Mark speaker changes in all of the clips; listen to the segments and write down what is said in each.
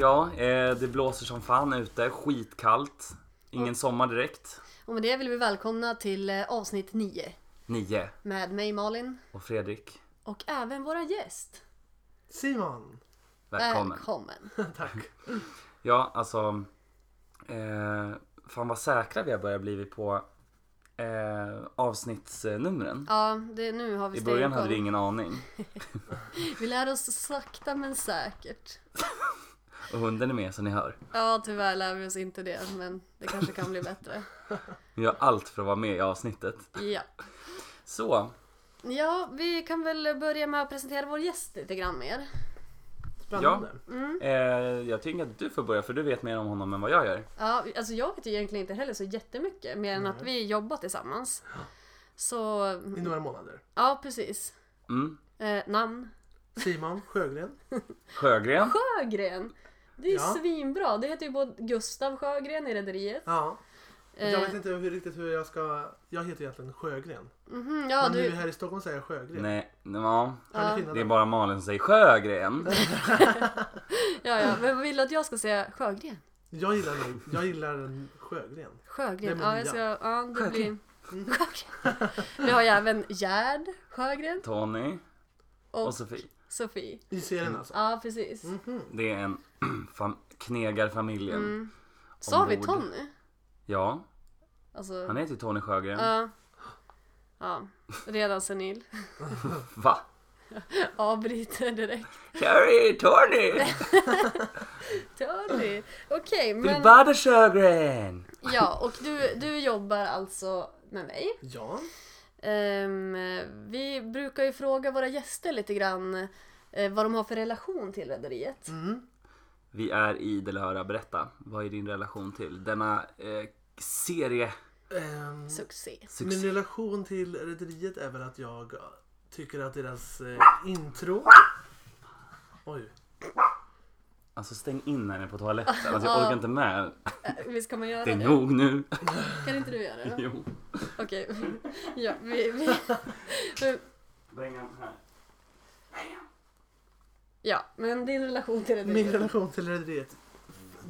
Speaker 1: Ja, eh, det blåser som fan ute. Skitkallt. Ingen sommar direkt.
Speaker 2: Och med det vill vi välkomna till eh, avsnitt 9
Speaker 1: Nio.
Speaker 2: med mig Malin
Speaker 1: Och Fredrik,
Speaker 2: och även våra gäst.
Speaker 3: Simon!
Speaker 1: välkommen.
Speaker 2: Eh, Välkommen.
Speaker 3: Tack.
Speaker 1: Ja, alltså. Eh, fan vad säkra vi har börjat bli på eh, avsnittsnumren.
Speaker 2: Ja, det, nu har vi
Speaker 1: I början
Speaker 2: stenkoll.
Speaker 1: hade vi ingen aning.
Speaker 2: Vi lär oss sakta men säkert.
Speaker 1: Och hunden är med så ni hör.
Speaker 2: Ja, tyvärr lär vi oss inte det, men det kanske kan bli bättre.
Speaker 1: Vi gör allt för att vara med i avsnittet.
Speaker 2: Ja.
Speaker 1: Så,
Speaker 2: ja, vi kan väl börja med att presentera vår gäst lite grann mer.
Speaker 3: Spännande.
Speaker 2: Mm.
Speaker 1: eh, jag tänker att du får börja för du vet mer om honom än vad jag gör.
Speaker 2: Ja, alltså jag vet ju egentligen inte heller så jättemycket mer än att vi jobbar tillsammans. Så,
Speaker 3: I några månader.
Speaker 2: ja precis.
Speaker 1: Mm.
Speaker 2: Eh, namn?
Speaker 3: Simon Sjögren.
Speaker 1: Sjögren.
Speaker 2: Sjögren! Det är ju
Speaker 3: Ja.
Speaker 2: svinbra. Det heter ju både Gustav Sjögren i Rederiet.
Speaker 3: Ja.
Speaker 2: Eh,
Speaker 3: Jag vet inte hur, riktigt hur jag ska... Jag heter egentligen Sjögren.
Speaker 2: mhm, ja,
Speaker 3: Men nu
Speaker 2: du,
Speaker 3: här i Stockholm säger jag Sjögren.
Speaker 1: Nej, ja.
Speaker 3: Hör ni
Speaker 2: Ja.
Speaker 3: skillnaden?
Speaker 1: Det är bara Malin som säger Sjögren.
Speaker 2: ja, ja. Men vill du att jag ska säga Sjögren?
Speaker 3: Jag gillar, nog- jag gillar en Sjögren.
Speaker 2: Sjögren.
Speaker 3: Nej, men
Speaker 2: Ja, jag ska,
Speaker 3: ja.
Speaker 2: ja, det blir... Mm,
Speaker 1: Sjögren.
Speaker 2: Sjögren. Vi har ju även Gerd Sjögren
Speaker 1: Tony
Speaker 2: och,
Speaker 1: och Sofie.
Speaker 2: Sofie.
Speaker 3: I
Speaker 1: Mm.
Speaker 3: serien alltså.
Speaker 2: Ja, precis.
Speaker 1: Det är en fam- knegarfamiljen.
Speaker 2: Mm. Sa vi
Speaker 1: Ombord.
Speaker 2: Tony?
Speaker 1: Ja,
Speaker 2: Alltså,
Speaker 1: han heter ju Tony Sjögren.
Speaker 2: ja. Ja, redan senil.
Speaker 1: Va?
Speaker 2: Avbryter direkt.
Speaker 1: Harry, Tony!
Speaker 2: Tony! Okej, men...
Speaker 1: Filbada Sjögren!
Speaker 2: Ja, och du, du jobbar alltså med mig.
Speaker 3: Ja.
Speaker 2: Ehm, vi brukar ju fråga våra gäster lite grann eh, vad de har för relation till rederiet.
Speaker 3: Mm.
Speaker 1: Vi är i Delhöra, berätta. Vad är din relation till denna eh, serie?
Speaker 3: Ehm,
Speaker 2: Succé.
Speaker 3: min
Speaker 1: Succé.
Speaker 3: relation till Rederiet är väl att jag tycker att deras eh, intro... Oj.
Speaker 1: Alltså stäng in henne på toaletten, alltså, jag
Speaker 2: Ja.
Speaker 1: orkar inte med.
Speaker 2: Eh, Visst kan man göra
Speaker 1: Det
Speaker 2: det?
Speaker 1: är nog nu.
Speaker 2: Kan inte du göra det?
Speaker 1: Jo.
Speaker 2: Okej. Ja, vi, vi...
Speaker 1: Bring han här.
Speaker 2: ja, men din relation till rederiet.
Speaker 3: Min relation till Rederiet.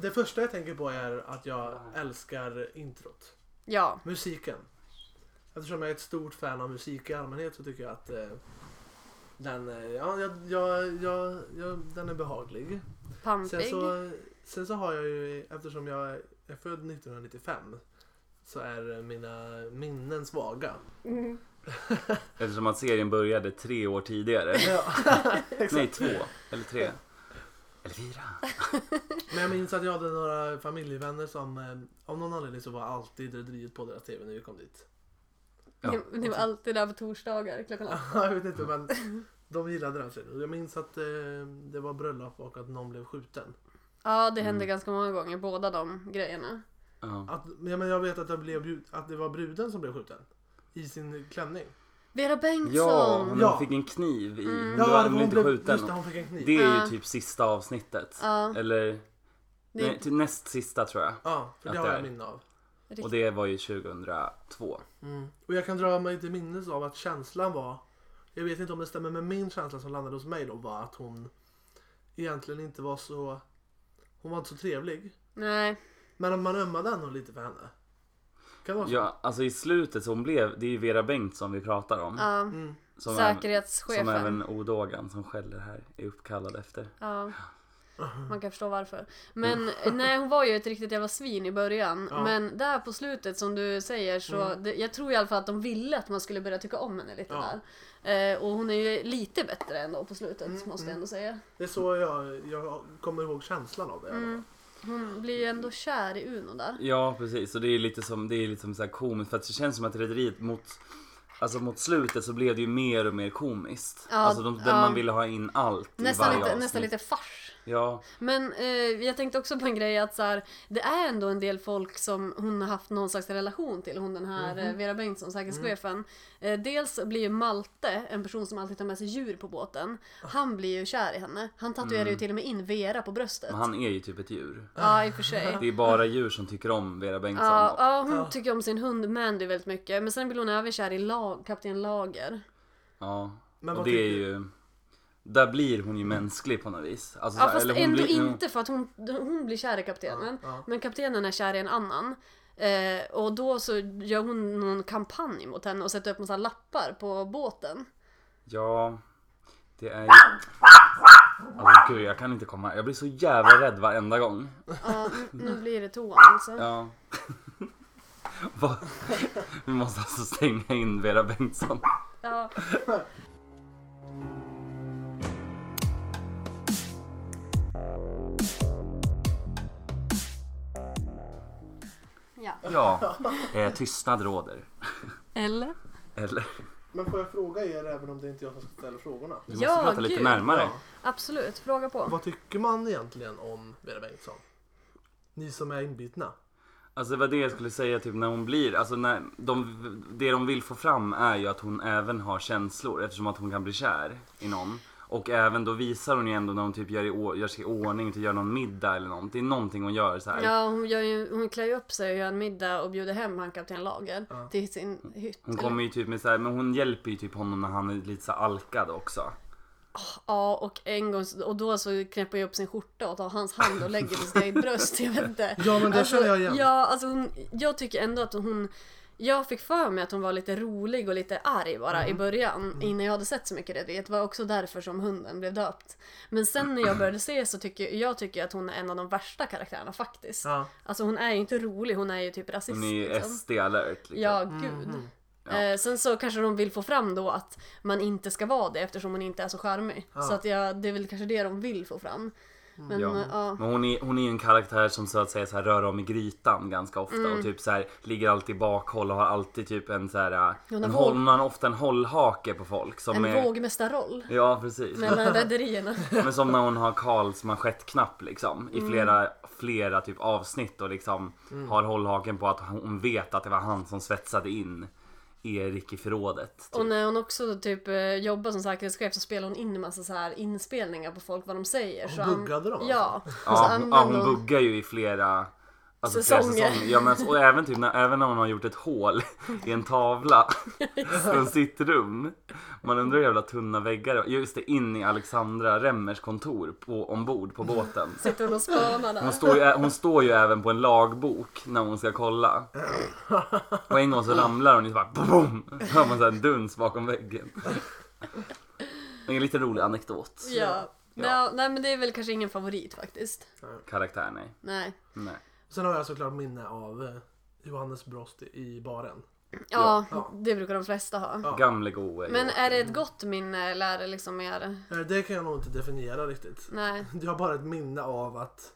Speaker 3: Det första jag tänker på är att jag älskar introt.
Speaker 2: Ja,
Speaker 3: Musiken. Eftersom jag är ett stort fan av musik i allmänhet så tycker jag att eh, den, eh, ja, jag, jag, jag, jag, den är behaglig. Sen
Speaker 2: pampig.
Speaker 3: så, sen så har jag ju, eftersom jag är född 1995 så är mina minnen svaga.
Speaker 2: Mm.
Speaker 1: Eftersom att serien började tre år tidigare.
Speaker 3: Ja.
Speaker 1: Nej, två. Eller tre. Eller fyra.
Speaker 3: Men jag minns att jag hade några familjevänner som eh, av någon anledning så var alltid Rederiet på deras TV när vi kom dit.
Speaker 1: Ja.
Speaker 2: Ni, ni var alltid där på torsdagar klockan åtta.
Speaker 3: jag vet inte men de gillade den serien. Och Jag minns att eh, det var bröllop och att någon blev skjuten.
Speaker 2: Ja, det
Speaker 1: Mm.
Speaker 2: hände ganska många gånger, båda de grejerna.
Speaker 1: Ja.
Speaker 3: Att, ja, men jag vet att det, blev, brud- att det var bruden som blev skjuten. I sin klänning.
Speaker 2: Vera
Speaker 1: Ja,
Speaker 2: Bengtsson!
Speaker 1: hon
Speaker 3: Ja.
Speaker 1: fick en kniv i.
Speaker 2: Mm.
Speaker 1: Hon,
Speaker 3: Ja,
Speaker 1: var,
Speaker 3: det
Speaker 1: hon
Speaker 3: var
Speaker 1: blev
Speaker 3: hon
Speaker 1: inte skjuten.
Speaker 3: blev, just det, hon fick en kniv.
Speaker 1: Det är ju
Speaker 2: Ja.
Speaker 1: typ sista avsnittet.
Speaker 2: Ja.
Speaker 1: Eller
Speaker 2: Det är
Speaker 1: nej, typ näst sista tror jag.
Speaker 3: Ja, för
Speaker 1: Att
Speaker 3: det har
Speaker 1: det
Speaker 3: jag
Speaker 1: är.
Speaker 3: minne av.
Speaker 2: riktigt-
Speaker 1: Och det var ju 2002.
Speaker 3: Och jag kan dra mig till minnes av att känslan var, jag vet inte om det stämmer men min känsla som landade hos mig då var att hon egentligen inte var så, hon var inte så trevlig.
Speaker 2: Nej,
Speaker 3: Men man ömmade ändå lite för henne. Kan det vara så?
Speaker 1: Ja, alltså i slutet som blev, det är ju Vera Bengtsson vi pratar om.
Speaker 2: ja.
Speaker 1: som
Speaker 2: Säkerhetschefen.
Speaker 1: Även, som även odågan som skäller här är uppkallad efter.
Speaker 2: Ja. Man kan förstå varför. Men nej, hon var ju ett riktigt jävla svin i början.
Speaker 3: Ja.
Speaker 2: Men där på slutet som du säger så
Speaker 1: Mm.
Speaker 2: det, jag tror i alla fall att de ville att man skulle börja tycka om henne lite
Speaker 3: Ja.
Speaker 2: där. Eh, och hon är ju lite bättre ändå på slutet
Speaker 1: Mm,
Speaker 2: måste jag ändå säga.
Speaker 3: Det är så jag, jag kommer ihåg känslan av det.
Speaker 2: Hon blir ju ändå kär i Uno där.
Speaker 1: Ja precis, och det är lite som, det är lite som så här komiskt för att det känns som att Rederiet mot Alltså mot slutet så blev det ju mer och mer komiskt.
Speaker 2: Ja,
Speaker 1: alltså de, där
Speaker 2: ja.
Speaker 1: man ville ha in allt i
Speaker 2: Nästan
Speaker 1: varje
Speaker 2: lite,
Speaker 1: avsnitt.
Speaker 2: nästan lite fars.
Speaker 1: Ja,
Speaker 2: Men eh, jag tänkte också på en grej att så här, det är ändå en del folk som hon har haft någon slags relation till, hon den här
Speaker 1: Mhm.
Speaker 2: eh, Vera Bengtsson,
Speaker 1: Mm.
Speaker 2: säkerhetschefen. Eh, dels blir ju Malte, en person som alltid tar med sig djur på båten, han blir ju kär i henne. Han tatuerar
Speaker 1: Mm.
Speaker 2: ju till och med in Vera på bröstet.
Speaker 1: men han är ju typ ett djur.
Speaker 2: Ja, i och för sig.
Speaker 1: Det är bara djur som tycker om Vera Bengtsson.
Speaker 2: Ja, ja, hon tycker om sin hund Mandy väldigt mycket. Men sen blir hon även kär i lag, kapten Lager.
Speaker 1: Ja, och
Speaker 3: Men vad
Speaker 1: det är
Speaker 3: tycker-
Speaker 1: ju Där blir hon ju mänsklig på något vis. Alltså,
Speaker 2: Ja
Speaker 1: så här,
Speaker 2: fast
Speaker 1: eller hon
Speaker 2: ändå
Speaker 1: blir-
Speaker 2: inte för att hon, hon blir kär i kaptenen.
Speaker 3: Ja, ja.
Speaker 2: Men kaptenen är kär i en annan. Eh, och då så gör hon någon kampanj mot henne och sätter upp massa lappar på båten.
Speaker 1: Ja, det är ju... Alltså gud, jag kan inte komma. Jag blir så jävla rädd varenda gång.
Speaker 2: Ja, n- nu blir det toan alltså.
Speaker 1: Mm. Ja. Vad- Vi måste alltså stänga in Vera Bengtsson.
Speaker 2: Ja. Ja.
Speaker 1: Ja, eh, tystnad råder.
Speaker 2: Eller?
Speaker 1: Eller?
Speaker 3: Men får jag fråga er, även om det inte är jag som ska ställa frågorna.
Speaker 1: Du måste
Speaker 2: Ja,
Speaker 1: prata lite
Speaker 2: gud.
Speaker 1: närmare.
Speaker 2: Absolut, fråga på.
Speaker 3: Vad tycker man egentligen om Vera Bengtsson? Ni som är inbitna.
Speaker 1: Alltså det var det jag skulle säga typ när hon blir, alltså när de, det de vill få fram är ju att hon även har känslor eftersom att hon kan bli kär i någon. Och även då visar hon ju ändå när hon typ gör, i, å- gör sig i ordning, typ gör någon middag eller något. Det är någonting hon gör så här.
Speaker 2: Ja, hon, gör ju, hon klär ju upp sig och gör en middag och bjuder hem han kapten Lager till sin hytt.
Speaker 1: Hon
Speaker 2: eller-
Speaker 1: kommer ju typ med så här, men hon hjälper ju typ honom när han är lite så här alkad också.
Speaker 2: Ja, och en gång så- och då så knäpper jag upp sin skjorta och tar hans hand och lägger på sitt eget bröst. Jag vet inte.
Speaker 3: Ja, men det känner jag igen.
Speaker 2: Ja, alltså hon, jag tycker ändå att hon jag fick för mig att hon var lite rolig och lite arg bara
Speaker 3: Mm.
Speaker 2: i början innan jag hade sett så mycket rederiet. Det var också därför som hunden blev döpt. Men sen när jag började se så tycker jag tycker att hon är en av de värsta karaktärerna faktiskt.
Speaker 3: Ja.
Speaker 2: Alltså hon är ju inte rolig, hon är ju typ rasist.
Speaker 1: Hon är ju
Speaker 2: liksom.
Speaker 1: SD alert liksom.
Speaker 2: Ja, gud. Eh, sen så kanske de vill få fram då att man inte ska vara det eftersom hon inte är så charmig. Så att jag, det är väl kanske det de vill få fram. Men
Speaker 1: Ja. Mm.
Speaker 2: eh, ja.
Speaker 1: Men hon är, hon är ju en karaktär som så att säga så här, rör om i grytan ganska ofta
Speaker 2: Mm.
Speaker 1: och typ så här, ligger alltid i bakhåll och har alltid typ en så här, eh,
Speaker 2: Hon har
Speaker 1: en
Speaker 2: våg-
Speaker 1: håll, hon har ofta en hållhake på folk som
Speaker 2: en
Speaker 1: är
Speaker 2: vågmästarroll
Speaker 1: Ja precis. Men...
Speaker 2: mellan rederierna.
Speaker 1: som när hon har Karls manschettknapp liksom
Speaker 2: Mm.
Speaker 1: i flera, flera typ avsnitt och liksom har hållhaken på att hon vet att det var han som svetsade in Erik i förrådet. Typ.
Speaker 2: Och när hon också typ eh, jobbar som säkerhetschef så spelar hon in en massa så här inspelningar på folk vad de säger.
Speaker 3: Hon
Speaker 2: så an-
Speaker 3: buggade dem,
Speaker 2: Ja. Och så
Speaker 1: alltså. Ja, hon, ja,
Speaker 2: använder
Speaker 1: hon buggar ju i flera alltså,
Speaker 2: Alltså, Säsonger.
Speaker 1: Flera säsonger. Ja, men, och även, typ, när, även när hon har gjort ett hål i en tavla från sitt rum. Man undrar hur jävla tunna väggar det var. Just det, in i Alexandra Remmers kontor på, ombord på båten.
Speaker 2: Sitter hon och spånar
Speaker 1: Hon
Speaker 2: där.
Speaker 1: står, ju, hon står ju även på en lagbok när hon ska kolla. Och en gång så ramlar hon och så bara boom! Hör man så här en duns bakom väggen. Det är en lite rolig anekdot.
Speaker 2: Ja.
Speaker 1: Ja.
Speaker 2: Nej, nej men det är väl kanske ingen favorit faktiskt.
Speaker 1: Karaktär, nej.
Speaker 2: Nej.
Speaker 1: nej.
Speaker 3: Sen har jag såklart minne av eh, Johannes Brost i baren.
Speaker 2: Ja,
Speaker 3: Ja.
Speaker 2: det brukar de flesta ha.
Speaker 3: Ja.
Speaker 1: Gamle goe.
Speaker 2: Men är det ett gott minne eller är det liksom mer...
Speaker 3: Eh, Det kan jag nog inte definiera riktigt.
Speaker 2: Nej.
Speaker 3: Jag har bara ett minne av att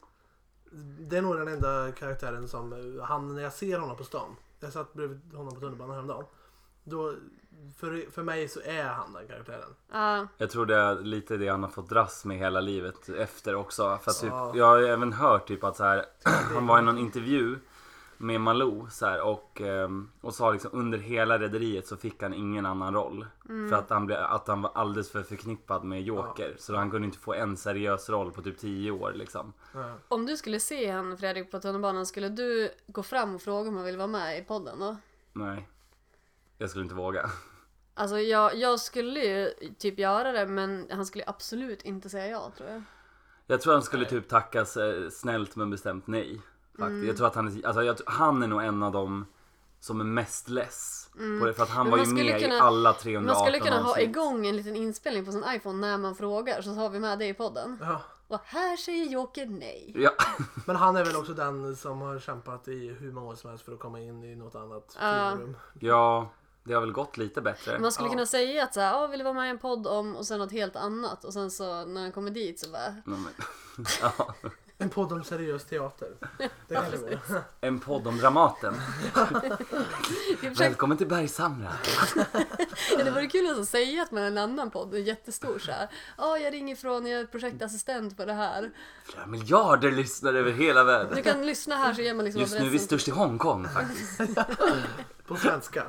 Speaker 3: det är nog den enda karaktären som eh, han, när jag ser honom på stan. Jag satt bredvid honom på tunnelbanan häromdagen. Då, för, för mig så är han den karaktären.
Speaker 2: Ja.
Speaker 1: Jag tror det är lite det han har fått dras med hela livet efter också. För att typ,
Speaker 3: Ja.
Speaker 1: Jag har ju även hört typ att så här, han var i någon intervju med Malou så här, och, ehm, och sa liksom under hela rederiet så fick han ingen annan roll. För att han, blev, att han var alldeles för förknippad med Joker. Så han kunde inte få en seriös roll på typ 10 år liksom.
Speaker 3: Ja.
Speaker 2: Om du skulle se han Fredrik på tunnelbanan, skulle du gå fram och fråga om han vill vara med i podden då?
Speaker 1: Nej. Jag skulle inte våga.
Speaker 2: Alltså jag, jag skulle ju typ göra det men han skulle absolut inte säga ja tror jag.
Speaker 1: Jag tror han skulle typ tackas eh, snällt men bestämt nej. Faktiskt.
Speaker 2: Mm.
Speaker 1: Jag tror att han, är- alltså, jag, tror- han är nog en av dem som är mest less på det. För att han
Speaker 2: Mm. Men
Speaker 1: var
Speaker 2: man
Speaker 1: ju
Speaker 2: skulle
Speaker 1: med i
Speaker 2: kunna-
Speaker 1: alla
Speaker 2: Man
Speaker 1: 318
Speaker 2: skulle kunna ha
Speaker 1: avsnitt.
Speaker 2: igång en liten inspelning på sin iPhone när man frågar så har vi med det i podden.
Speaker 3: Ja.
Speaker 2: Och här säger Joker nej.
Speaker 1: Ja,
Speaker 3: Men han är väl också den som har kämpat i hur många år som helst för att komma in i något annat
Speaker 2: Ja.
Speaker 3: forum.
Speaker 1: ja, det har väl gått lite bättre.
Speaker 2: Man skulle
Speaker 3: Ja.
Speaker 2: kunna säga att så här, "Ja, vill du vara med i en podd om och sen något helt annat och sen så när han kommer dit så bara
Speaker 1: Ja, men- ja.
Speaker 3: En podd om seriös teater. Det kanske går.
Speaker 1: En podd om Dramaten.
Speaker 2: Vi försökte,
Speaker 1: Välkommen till Bergshamra.
Speaker 2: det vore kul att säga att man är en annan podd, en jättestor så här. Ja, jag ringer ifrån, jag är projektassistent på det här.
Speaker 1: Flera miljarder lyssnare över hela världen.
Speaker 2: Du kan lyssna här så ger man liksom
Speaker 1: Just nu är vi störst i Hongkong faktiskt.
Speaker 3: På svenska.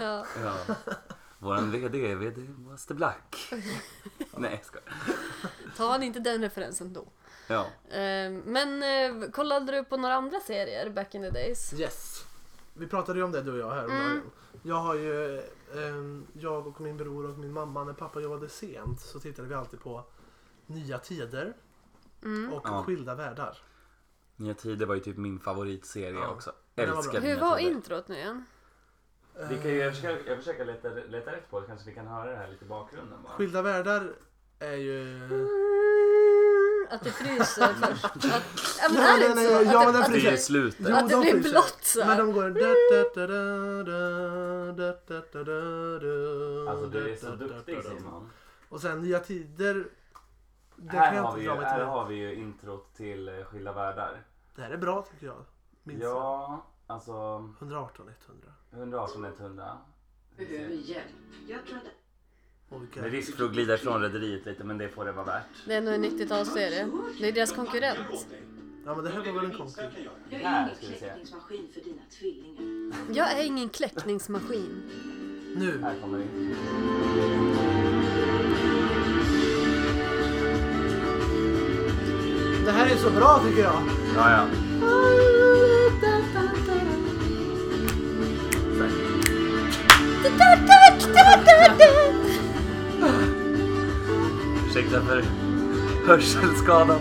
Speaker 2: Ja.
Speaker 1: Ja. Våran VD är VD Master Black. Nej, jag skojar.
Speaker 2: Ta han inte den referensen då.
Speaker 1: Ja.
Speaker 2: Eh, Men eh, kollade du på några andra serier back in the days? Mm.
Speaker 3: Yes. Vi pratade ju om det du och jag häromdagen. Jag har ju, ehm, jag och min bror och min mamma när pappa jobbade sent så tittade vi alltid på Nya Tider
Speaker 2: Mm.
Speaker 3: och
Speaker 1: Ja.
Speaker 3: Skilda Världar.
Speaker 1: Nya Tider var ju typ min favoritserie
Speaker 3: Ja.
Speaker 1: också.
Speaker 3: Den var
Speaker 1: Älskar
Speaker 3: bra.
Speaker 1: Nya
Speaker 2: Hur var
Speaker 1: Tider.
Speaker 2: introt nu igen?
Speaker 1: Vi kan ju, jag försöker, jag försöker leta, leta rätt på det, kanske vi kan höra det här lite i bakgrunden bara.
Speaker 3: Skilda Världar är ju...
Speaker 2: Att det fryser först. Att, ja, men
Speaker 3: Nej,
Speaker 2: är det
Speaker 3: nej,
Speaker 2: inte
Speaker 3: nej,
Speaker 2: så?
Speaker 3: ja,
Speaker 2: att
Speaker 3: men den
Speaker 2: att
Speaker 1: Det är ju
Speaker 3: fryser.
Speaker 1: slutet.
Speaker 3: Jo,
Speaker 2: att det
Speaker 3: de
Speaker 2: blir
Speaker 3: fryser.
Speaker 2: blått så
Speaker 3: Men
Speaker 2: här.
Speaker 3: de går... Da, da, da, da, da, da, da, da, da,
Speaker 1: Alltså du är så
Speaker 3: da, da, da,
Speaker 1: duktig
Speaker 3: da.
Speaker 1: Simon.
Speaker 3: Och sen Nya Tider. Det kan
Speaker 1: Här
Speaker 3: jag
Speaker 1: har,
Speaker 3: inte
Speaker 1: vi ju,
Speaker 3: dra mig
Speaker 1: här
Speaker 3: till.
Speaker 1: har vi ju introt till eh, Skilda Världar.
Speaker 3: Det här är bra tycker jag. Minst
Speaker 1: Ja, alltså
Speaker 3: 118 100.
Speaker 1: 118 100.
Speaker 4: Behöver hjälp. Jag tror att
Speaker 3: Oj, gud.
Speaker 1: Med risk för att glida ifrån rederiet lite men det får det vara värt.
Speaker 2: Det är nog en 90-talsserie. Det är deras konkurrent.
Speaker 3: Ja men det här var väl en konkurrens.
Speaker 4: jag
Speaker 1: Här
Speaker 4: är ingen
Speaker 1: ska vi se.
Speaker 4: kläckningsmaskin för dina tvillingar.
Speaker 2: Jag är ingen kläckningsmaskin.
Speaker 3: Nu.
Speaker 1: Här kommer det.
Speaker 3: Det här är så bra tycker jag.
Speaker 1: Ja, ja. Ursäkta för hörselskadan.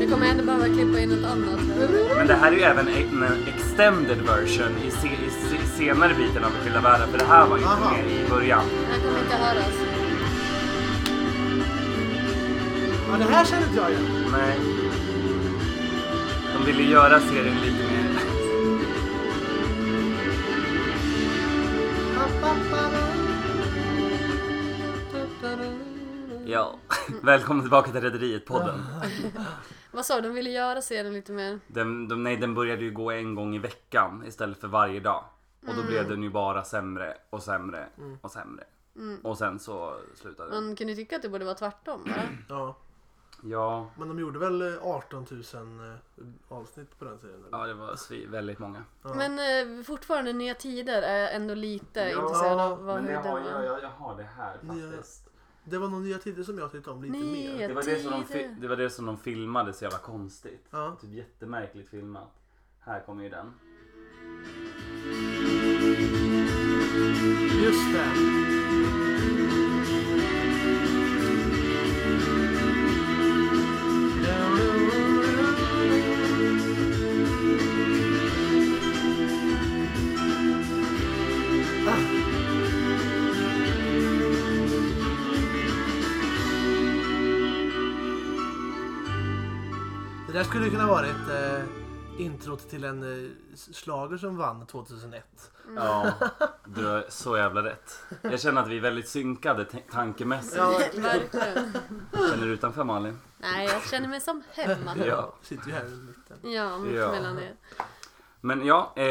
Speaker 2: Vi kommer ändå behöva klippa in något annat.
Speaker 1: Men det här är ju även en en extended version i, se, i se, senare biten av Skilda Världar för det här var ju inte
Speaker 3: Aha.
Speaker 1: med i början.
Speaker 2: Det här kommer inte höras.
Speaker 3: Ja det här känner inte jag igen.
Speaker 1: Nej. De ville göra serien lite mer... Ja. Välkommen tillbaka till Rederiet-podden.
Speaker 2: Vad sa du? De ville göra serien lite mer.
Speaker 1: Den, de, nej, den började ju gå en gång i veckan istället för varje dag. Och då blev den ju bara sämre och sämre och sämre. Och sen så slutade den.
Speaker 2: Man kunde tycka att det borde vara tvärtom. Va?
Speaker 3: Ja.
Speaker 1: Ja,
Speaker 3: Men de gjorde väl eh, 18 000 eh, avsnitt på den tiden? Eller?
Speaker 1: ja det var svi- väldigt många.
Speaker 2: Men eh, fortfarande Nya Tider är ändå lite
Speaker 1: Ja,
Speaker 2: intresserad av vad
Speaker 1: Men
Speaker 2: hur
Speaker 1: det har,
Speaker 2: den
Speaker 1: jag,
Speaker 2: var.
Speaker 1: jag, jag har det här faktiskt.
Speaker 3: Det var nog Nya Tider som jag tyckte om lite
Speaker 2: Nya
Speaker 3: mer.
Speaker 1: Det var det, som de fi-
Speaker 2: Tider.
Speaker 1: det var det som de filmade så jävla konstigt.
Speaker 3: Ja.
Speaker 1: Typ jättemärkligt filmat. Här kommer ju den.
Speaker 3: Just det. Det där skulle kunna vara ett eh, introt till en eh, slager som vann 2001.
Speaker 1: Ja, du har så jävla rätt. Jag känner att vi är väldigt synkade t- tankemässigt.
Speaker 2: Verkligen.
Speaker 1: Känner du utanför Malin?
Speaker 2: Nej, jag känner mig som hemma.
Speaker 1: Ja.
Speaker 3: Sitter ju här i mitten.
Speaker 2: Ja, mitt
Speaker 1: Ja.
Speaker 2: mellan er.
Speaker 1: Men ja, eh,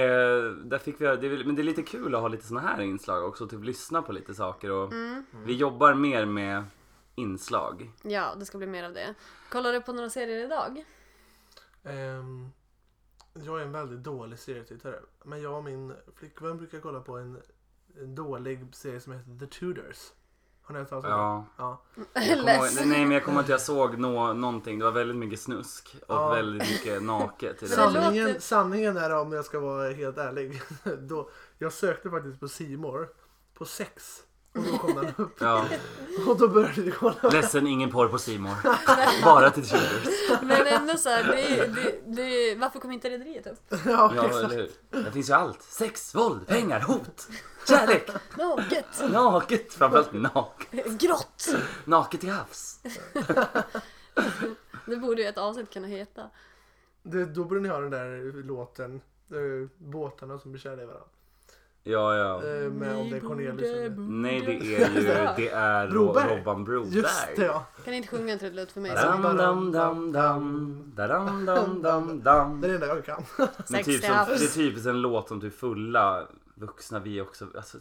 Speaker 1: där fick vi, det är, väl- men det är lite kul att ha lite såna här inslag också. Typ lyssna på lite saker
Speaker 2: Mm.
Speaker 1: och vi jobbar mer med inslag.
Speaker 2: Ja, det ska bli mer av det. Kollar du på några serier idag?
Speaker 3: Ehm, jag är en väldigt dålig serietittare. Men jag och min flickvän brukar kolla på en, en dålig serie som heter The Tudors. Har ni hört talas om den?
Speaker 1: Ja.
Speaker 3: ja.
Speaker 1: Jag kommer ihåg-
Speaker 2: Less.
Speaker 1: nej men jag kommer att jag såg nå, någonting, det var väldigt mycket snusk och
Speaker 3: Ja.
Speaker 1: väldigt mycket naket. i det.
Speaker 2: Men det låter-
Speaker 3: Sanningen, sanningen är om jag ska vara helt ärlig. Då, jag sökte faktiskt på Seymour på sex. Och då kom den upp.
Speaker 1: Ja.
Speaker 3: Och då började vi kolla.
Speaker 1: Ledsen, ingen porr på Simor. Bara till Tudors.
Speaker 2: Men ändå så här, det, det, det, varför kom inte Rederiet upp?
Speaker 3: Ja,
Speaker 1: Ja,
Speaker 3: exakt.
Speaker 1: eller hur? Där finns ju allt. Sex, våld, pengar, hot, kärlek,
Speaker 2: Naket!
Speaker 1: naket. Framförallt naket.
Speaker 2: Grått!
Speaker 1: Naket till havs.
Speaker 2: Det borde ju ett avsnitt kunna heta.
Speaker 3: Det, då borde ni ha den där låten. eh, båtarna som blir kära i varandra.
Speaker 1: Ja, ja.
Speaker 3: Eh, med om det är Cornelius. eller-
Speaker 1: Nej, det är ju det är Ro-
Speaker 3: Mm. Broberg.
Speaker 1: Robban Broberg.
Speaker 3: Just det ja.
Speaker 2: Kan ni inte sjunga en trudelutt för mig?
Speaker 1: Dam, dam, dam, dam. Daram, dam, dam,
Speaker 3: Det
Speaker 1: dam.
Speaker 3: är det enda jag kan.
Speaker 1: Men typ som, det är typiskt en låt som typ fulla vuxna vi också. Alltså,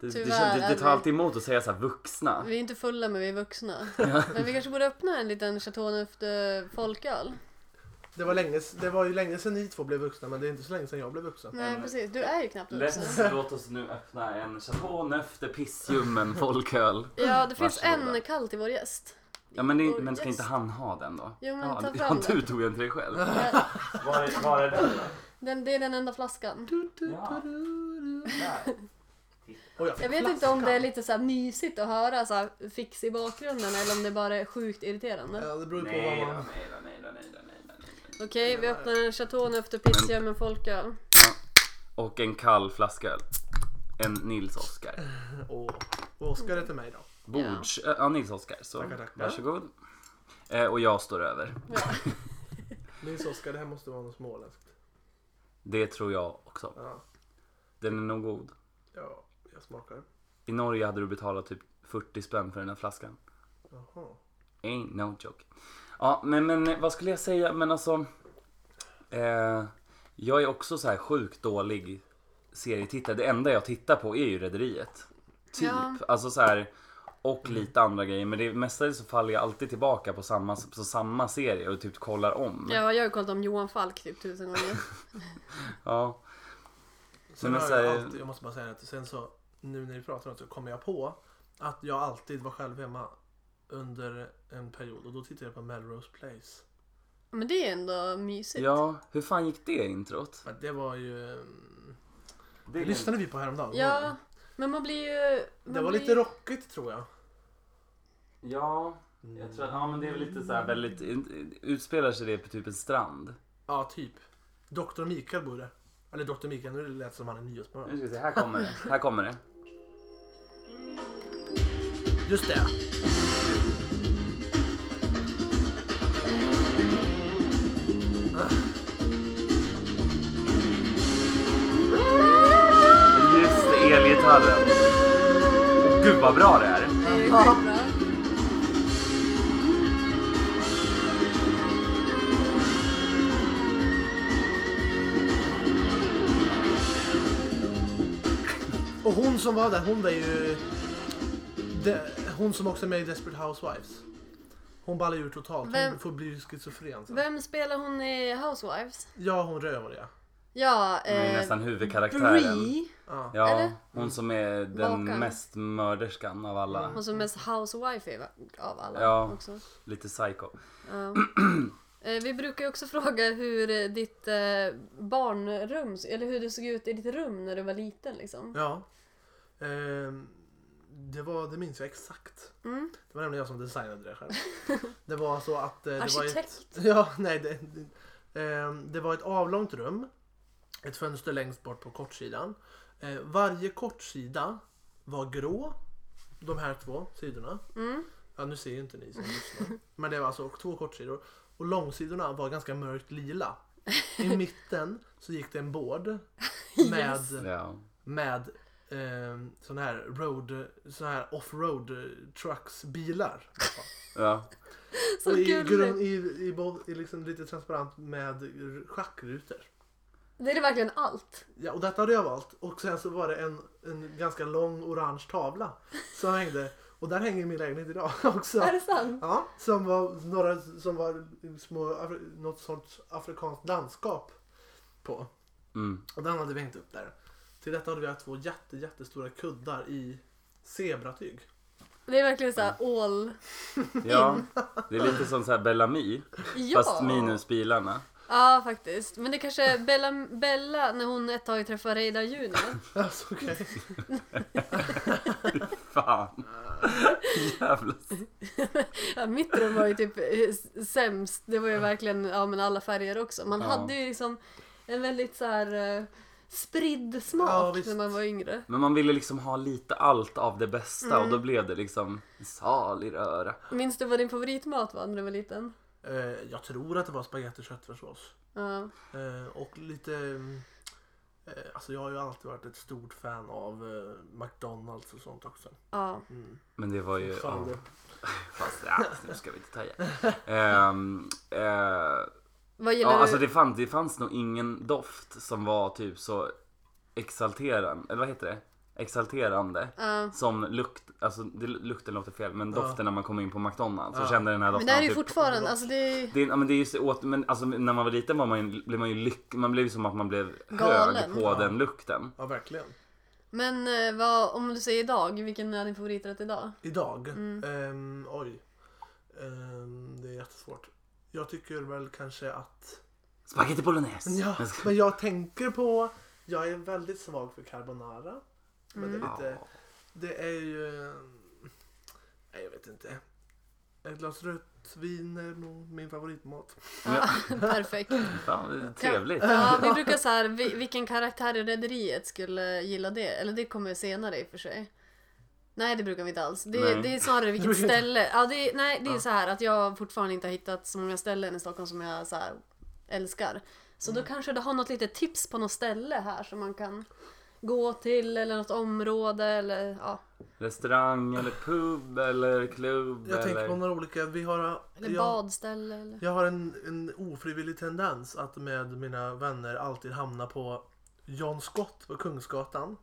Speaker 1: det, det, det,
Speaker 2: Tyvärr,
Speaker 1: det tar
Speaker 2: eller-
Speaker 1: alltid emot att säga så här vuxna.
Speaker 2: Vi är inte fulla men vi är vuxna. Men vi kanske borde öppna en liten Chateauneuf de folköl.
Speaker 3: Det var, länge, det var ju länge sedan ni två blev vuxna men det är inte så länge sedan jag blev vuxen.
Speaker 2: Nej precis, du är ju knappt vuxen.
Speaker 1: Let's, låt oss nu öppna en Chateauneuf de Pissljummen folköl.
Speaker 2: Ja, det finns
Speaker 1: Varsågoda.
Speaker 2: en kall till vår gäst.
Speaker 1: Ja men, det,
Speaker 2: Vår
Speaker 1: men ska
Speaker 2: gäst.
Speaker 1: inte han ha den då?
Speaker 2: Jo, men
Speaker 1: ja,
Speaker 2: ta
Speaker 1: det-
Speaker 2: fram
Speaker 1: ja,
Speaker 2: den.
Speaker 1: Du tog en till dig själv.
Speaker 2: Ja,
Speaker 1: Var är, var är den
Speaker 2: Den, det är den enda flaskan.
Speaker 1: Ja.
Speaker 5: Där. Titta.
Speaker 3: Och jag fick
Speaker 2: Mm. Jag vet inte
Speaker 3: flaskan.
Speaker 2: om det är lite så här mysigt att höra så här fix i bakgrunden eller om det bara är sjukt irriterande.
Speaker 3: Ja, det beror ju på
Speaker 1: Nej
Speaker 3: vad
Speaker 1: då,
Speaker 3: man...
Speaker 1: nej då, nej då, nej då, nej då, nej då.
Speaker 2: Okej, vi öppnar en Chateau efter Pizzium med folköl.
Speaker 1: Och en kall flaska En Nils Oskar.
Speaker 3: Åh, och Oskar är till mig då.
Speaker 1: Bords... eh, Ja, ja Nils Oskar. Så
Speaker 3: Tackar, tackar.
Speaker 1: varsågod. Eh, och jag står över.
Speaker 3: Nils Oskar, det här måste vara något småländskt.
Speaker 1: Det tror jag också.
Speaker 3: Ja,
Speaker 1: Den är nog god.
Speaker 3: ja jag smakar.
Speaker 1: I Norge hade du betalat typ 40 spänn för den här flaskan.
Speaker 3: Jaha.
Speaker 1: Ain't no joke. Ja, men, men eh, vad skulle jag säga? Men alltså... Eh, jag är också så här sjukt dålig serietittare. Det enda jag tittar på är ju Rederiet. Typ.
Speaker 2: Ja. Mm.
Speaker 1: Alltså så här... Och lite andra grejer. Men det mestadels så faller jag alltid tillbaka på samma, på samma serie och typ kollar om.
Speaker 2: Ja, jag har ju kollat om Johan Falk typ tusen gånger.
Speaker 1: Ja.
Speaker 3: Sen
Speaker 1: Men
Speaker 3: har
Speaker 1: så
Speaker 3: jag,
Speaker 1: här-
Speaker 3: alltid, jag måste bara säga att sen så, nu när vi pratar om det så kommer jag på att jag alltid var själv hemma under en period och då tittade jag på Melrose Place.
Speaker 2: Men det är ändå mysigt.
Speaker 1: Ja, hur fan gick det introt?
Speaker 3: Men det var ju... mm,
Speaker 1: Det
Speaker 3: Det lyssnade vi på häromdagen.
Speaker 2: Ja, men man blir ju... Man
Speaker 3: Det var
Speaker 2: blir...
Speaker 3: lite rockigt tror jag.
Speaker 1: Ja, jag tror att, ja men det är väl lite så här väldigt, utspelar sig det på typ en strand?
Speaker 3: Ja, typ. Dr. Mikael bor där. Eller Dr. Mikael, nu lät det som han är
Speaker 1: Nu
Speaker 3: nyhetsmorgon.
Speaker 1: ska vi se, här kommer det. Här kommer det.
Speaker 3: Just det!
Speaker 1: Just det, elgitarren. Åh, Gud vad bra det är.
Speaker 2: Det är ju skitbra.
Speaker 3: Och hon som var där, hon var ju... De, hon som också är med i Desperate Housewives. Hon ballar ur totalt.
Speaker 2: Vem-
Speaker 3: Hon får bli schizofren sen.
Speaker 2: Vem spelar hon i Housewives?
Speaker 3: Ja, hon rövhåriga.
Speaker 2: Ja,
Speaker 1: Hon är
Speaker 2: eh,
Speaker 1: nästan huvudkaraktären.
Speaker 2: Bree.
Speaker 3: Ja.
Speaker 1: Ja,
Speaker 2: Eller?
Speaker 1: hon som är den
Speaker 2: Bakan.
Speaker 1: mest mörderskan av alla.
Speaker 2: Hon som är mest housewife av alla
Speaker 1: Ja.
Speaker 2: också.
Speaker 1: Lite psycho.
Speaker 2: Ja. Eh, Vi brukar ju också fråga hur eh, ditt eh, barnrum, eller hur det såg ut i ditt rum när du var liten liksom.
Speaker 3: Ja. Ehm, det, var, det minns jag exakt.
Speaker 2: Mm.
Speaker 3: Det var nämligen jag som designade det själv. Det var så att... eh, Det
Speaker 2: Arkitekt.
Speaker 3: Var ett, ja, nej. Det, det, ehm, det var ett avlångt rum. Ett fönster längst bort på kortsidan. Eh, varje kortsida var grå. De här två sidorna.
Speaker 2: Mm.
Speaker 3: Ja, nu ser ju inte ni som lyssnar. Men det var alltså två kortsidor. Och långsidorna var ganska mörkt lila. I mitten så gick det en board med
Speaker 2: Yes.
Speaker 1: Ja.
Speaker 3: med eh, sån här road, sån här offroad eh, trucks bilar.
Speaker 1: ja.
Speaker 2: Så
Speaker 3: och i, grund,
Speaker 2: gulligt.
Speaker 3: i, i, bo- i liksom lite transparent med r- schackrutor.
Speaker 2: Det är verkligen allt.
Speaker 3: Ja, och detta hade jag valt. Och sen så var det en, en ganska lång orange tavla som hängde. Och där hänger min lägenhet idag också.
Speaker 2: Är det sant?
Speaker 3: Ja, som var några som var små, afri- något sorts afrikanskt landskap på.
Speaker 1: Mm.
Speaker 3: Och den hade vi hängt upp där. Till detta hade vi haft två jätte, jättestora kuddar i zebratyg.
Speaker 2: Det är verkligen så
Speaker 1: Mm.
Speaker 2: här all...
Speaker 1: ja. Det är lite som så här Bellamy.
Speaker 2: Ja.
Speaker 1: Fast minus bilarna.
Speaker 2: Ja, faktiskt. Men det kanske är Bella, Bella när hon ett tag träffar Reidar Junior.
Speaker 3: Alltså, okej.
Speaker 1: Fan. Jävla
Speaker 2: Ja, mitt rum var ju typ eh, sämst. Det var ju verkligen ja, men alla färger också. Man
Speaker 1: Ja.
Speaker 2: hade ju liksom en väldigt så här eh, spridd
Speaker 3: Ja,
Speaker 2: smak
Speaker 3: visst.
Speaker 2: när man var yngre.
Speaker 1: Men man ville liksom ha lite allt av det bästa och
Speaker 2: Mm.
Speaker 1: då blev det liksom salig röra.
Speaker 2: Minns du vad din favoritmat var när du var liten?
Speaker 3: Eh, jag tror att det var spagetti och köttfärssås.
Speaker 2: Ja.
Speaker 3: Eh, och lite... mm, Eh, alltså jag har ju alltid varit ett stort fan av eh, McDonalds och sånt också.
Speaker 2: ja.
Speaker 1: Men det var ju...
Speaker 3: Fan,
Speaker 1: ja,
Speaker 3: det-
Speaker 1: fast ja, nu ska vi inte ta igen. Ehm, eh,
Speaker 2: Vad
Speaker 1: ja,
Speaker 2: gillar
Speaker 1: alltså
Speaker 2: du?
Speaker 1: det fanns, det fanns nog ingen doft som var typ så exalterande, eller vad heter det? Exalterande.
Speaker 2: Ja.
Speaker 1: Som lukt, alltså det, lukten låter fel men
Speaker 3: Ja.
Speaker 1: doften när man kom in på McDonalds
Speaker 3: Ja.
Speaker 1: så kände den här
Speaker 2: men
Speaker 1: doften
Speaker 2: det här är ju
Speaker 1: typ-
Speaker 2: fortfarande, alltså det är
Speaker 1: Det, är- ja, men det är ju så åt, men alltså, när man var liten var man, ju- blev man ju lyck, man blev ju som att man blev hög
Speaker 2: Galen.
Speaker 1: på
Speaker 3: Ja.
Speaker 1: den lukten.
Speaker 3: Ja, verkligen.
Speaker 2: Men eh, vad, om du säger idag, vilken är din favoriträtt idag?
Speaker 3: Idag. Ehm, oj. Ehm, det är jättesvårt. Jag tycker väl kanske att...
Speaker 1: Spaghetti bolognese!
Speaker 3: Ja,
Speaker 1: Jag ska-
Speaker 3: men jag tänker på Jag är väldigt svag för carbonara. Men
Speaker 1: Mm.
Speaker 3: det är lite...
Speaker 1: Ja.
Speaker 3: Det är ju... Nej, jag vet inte. Ett glas rött vin är nog min favoritmat.
Speaker 2: Ja, perfekt.
Speaker 1: Fan, det är trevligt.
Speaker 2: Ja, vi brukar så här, vi- vilken karaktär i Rederiet skulle gilla det? Eller det kommer senare i och för sig. Nej, det brukar vi inte alls. Det,
Speaker 1: Nej.
Speaker 2: det är snarare vilket
Speaker 3: brukar-
Speaker 2: ställe. Ja, det, är- nej, det är så här att jag fortfarande inte har hittat så många ställen i Stockholm som jag så här älskar. Så då kanske du har något litet tips på något ställe här som man kan gå till eller något område eller ja.
Speaker 1: Restaurang eller pub eller klubb
Speaker 3: Jag tänker
Speaker 1: eller...
Speaker 3: på några olika. Vi har...
Speaker 2: Eller
Speaker 3: jag,
Speaker 2: badställe eller...
Speaker 3: jag har en, en ofrivillig tendens att med mina vänner alltid hamna på John Scott på Kungsgatan.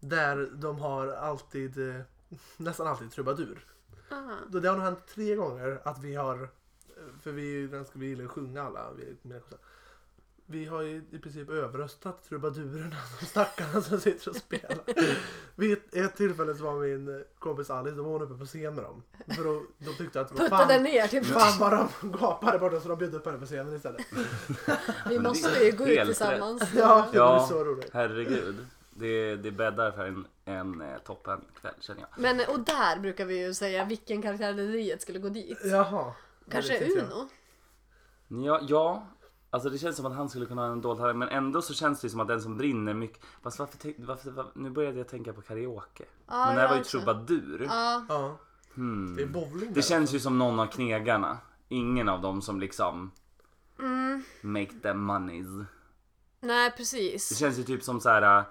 Speaker 3: Där de har alltid, eh, nästan alltid trubadur.
Speaker 2: Aha.
Speaker 3: Då det har nog hänt tre gånger att vi har, eh, för vi, är ju ganska- vi gillar att sjunga alla, vi, är mina kompisar. Vi har ju i princip överröstat trubadurerna, de stackarna som sitter och spelar. Vid ett- ett tillfälle så var min kompis Alice, då var hon uppe på scen med dem. För då, de tyckte att det var
Speaker 2: Puttade
Speaker 3: fan,
Speaker 2: ner typ.
Speaker 3: fan vad de gapade borta så de bjöd upp henne på scenen istället.
Speaker 2: Vi måste ju gå ut
Speaker 1: Helt rätt.
Speaker 2: tillsammans.
Speaker 3: Ja, det var
Speaker 1: Ja.
Speaker 3: så roligt.
Speaker 1: Herregud. Det, det bäddar för en, en eh, toppen kväll känner jag.
Speaker 2: Men och där brukar vi ju säga vilken karaktär i Rederiet skulle gå dit.
Speaker 3: Jaha. det
Speaker 2: Kanske
Speaker 3: vet inte jag.
Speaker 2: Uno?
Speaker 1: Ja, ja, alltså det känns som att han skulle kunna ha en dold talang men ändå så känns det ju som att den som brinner mycket... Fast varför, tänk- varför, varför Nu började jag tänka på karaoke.
Speaker 2: Ja,
Speaker 1: men det här
Speaker 2: jag
Speaker 1: var ju
Speaker 2: också.
Speaker 1: trubadur.
Speaker 2: Ja,
Speaker 3: Ja,
Speaker 1: Hmm.
Speaker 3: det är bowling
Speaker 1: Det
Speaker 3: där.
Speaker 1: känns ju som någon av knegarna. Ingen av dem som liksom make them monies.
Speaker 2: Mm. nej
Speaker 1: Det
Speaker 2: precis.
Speaker 1: känns ju typ som så här. äh,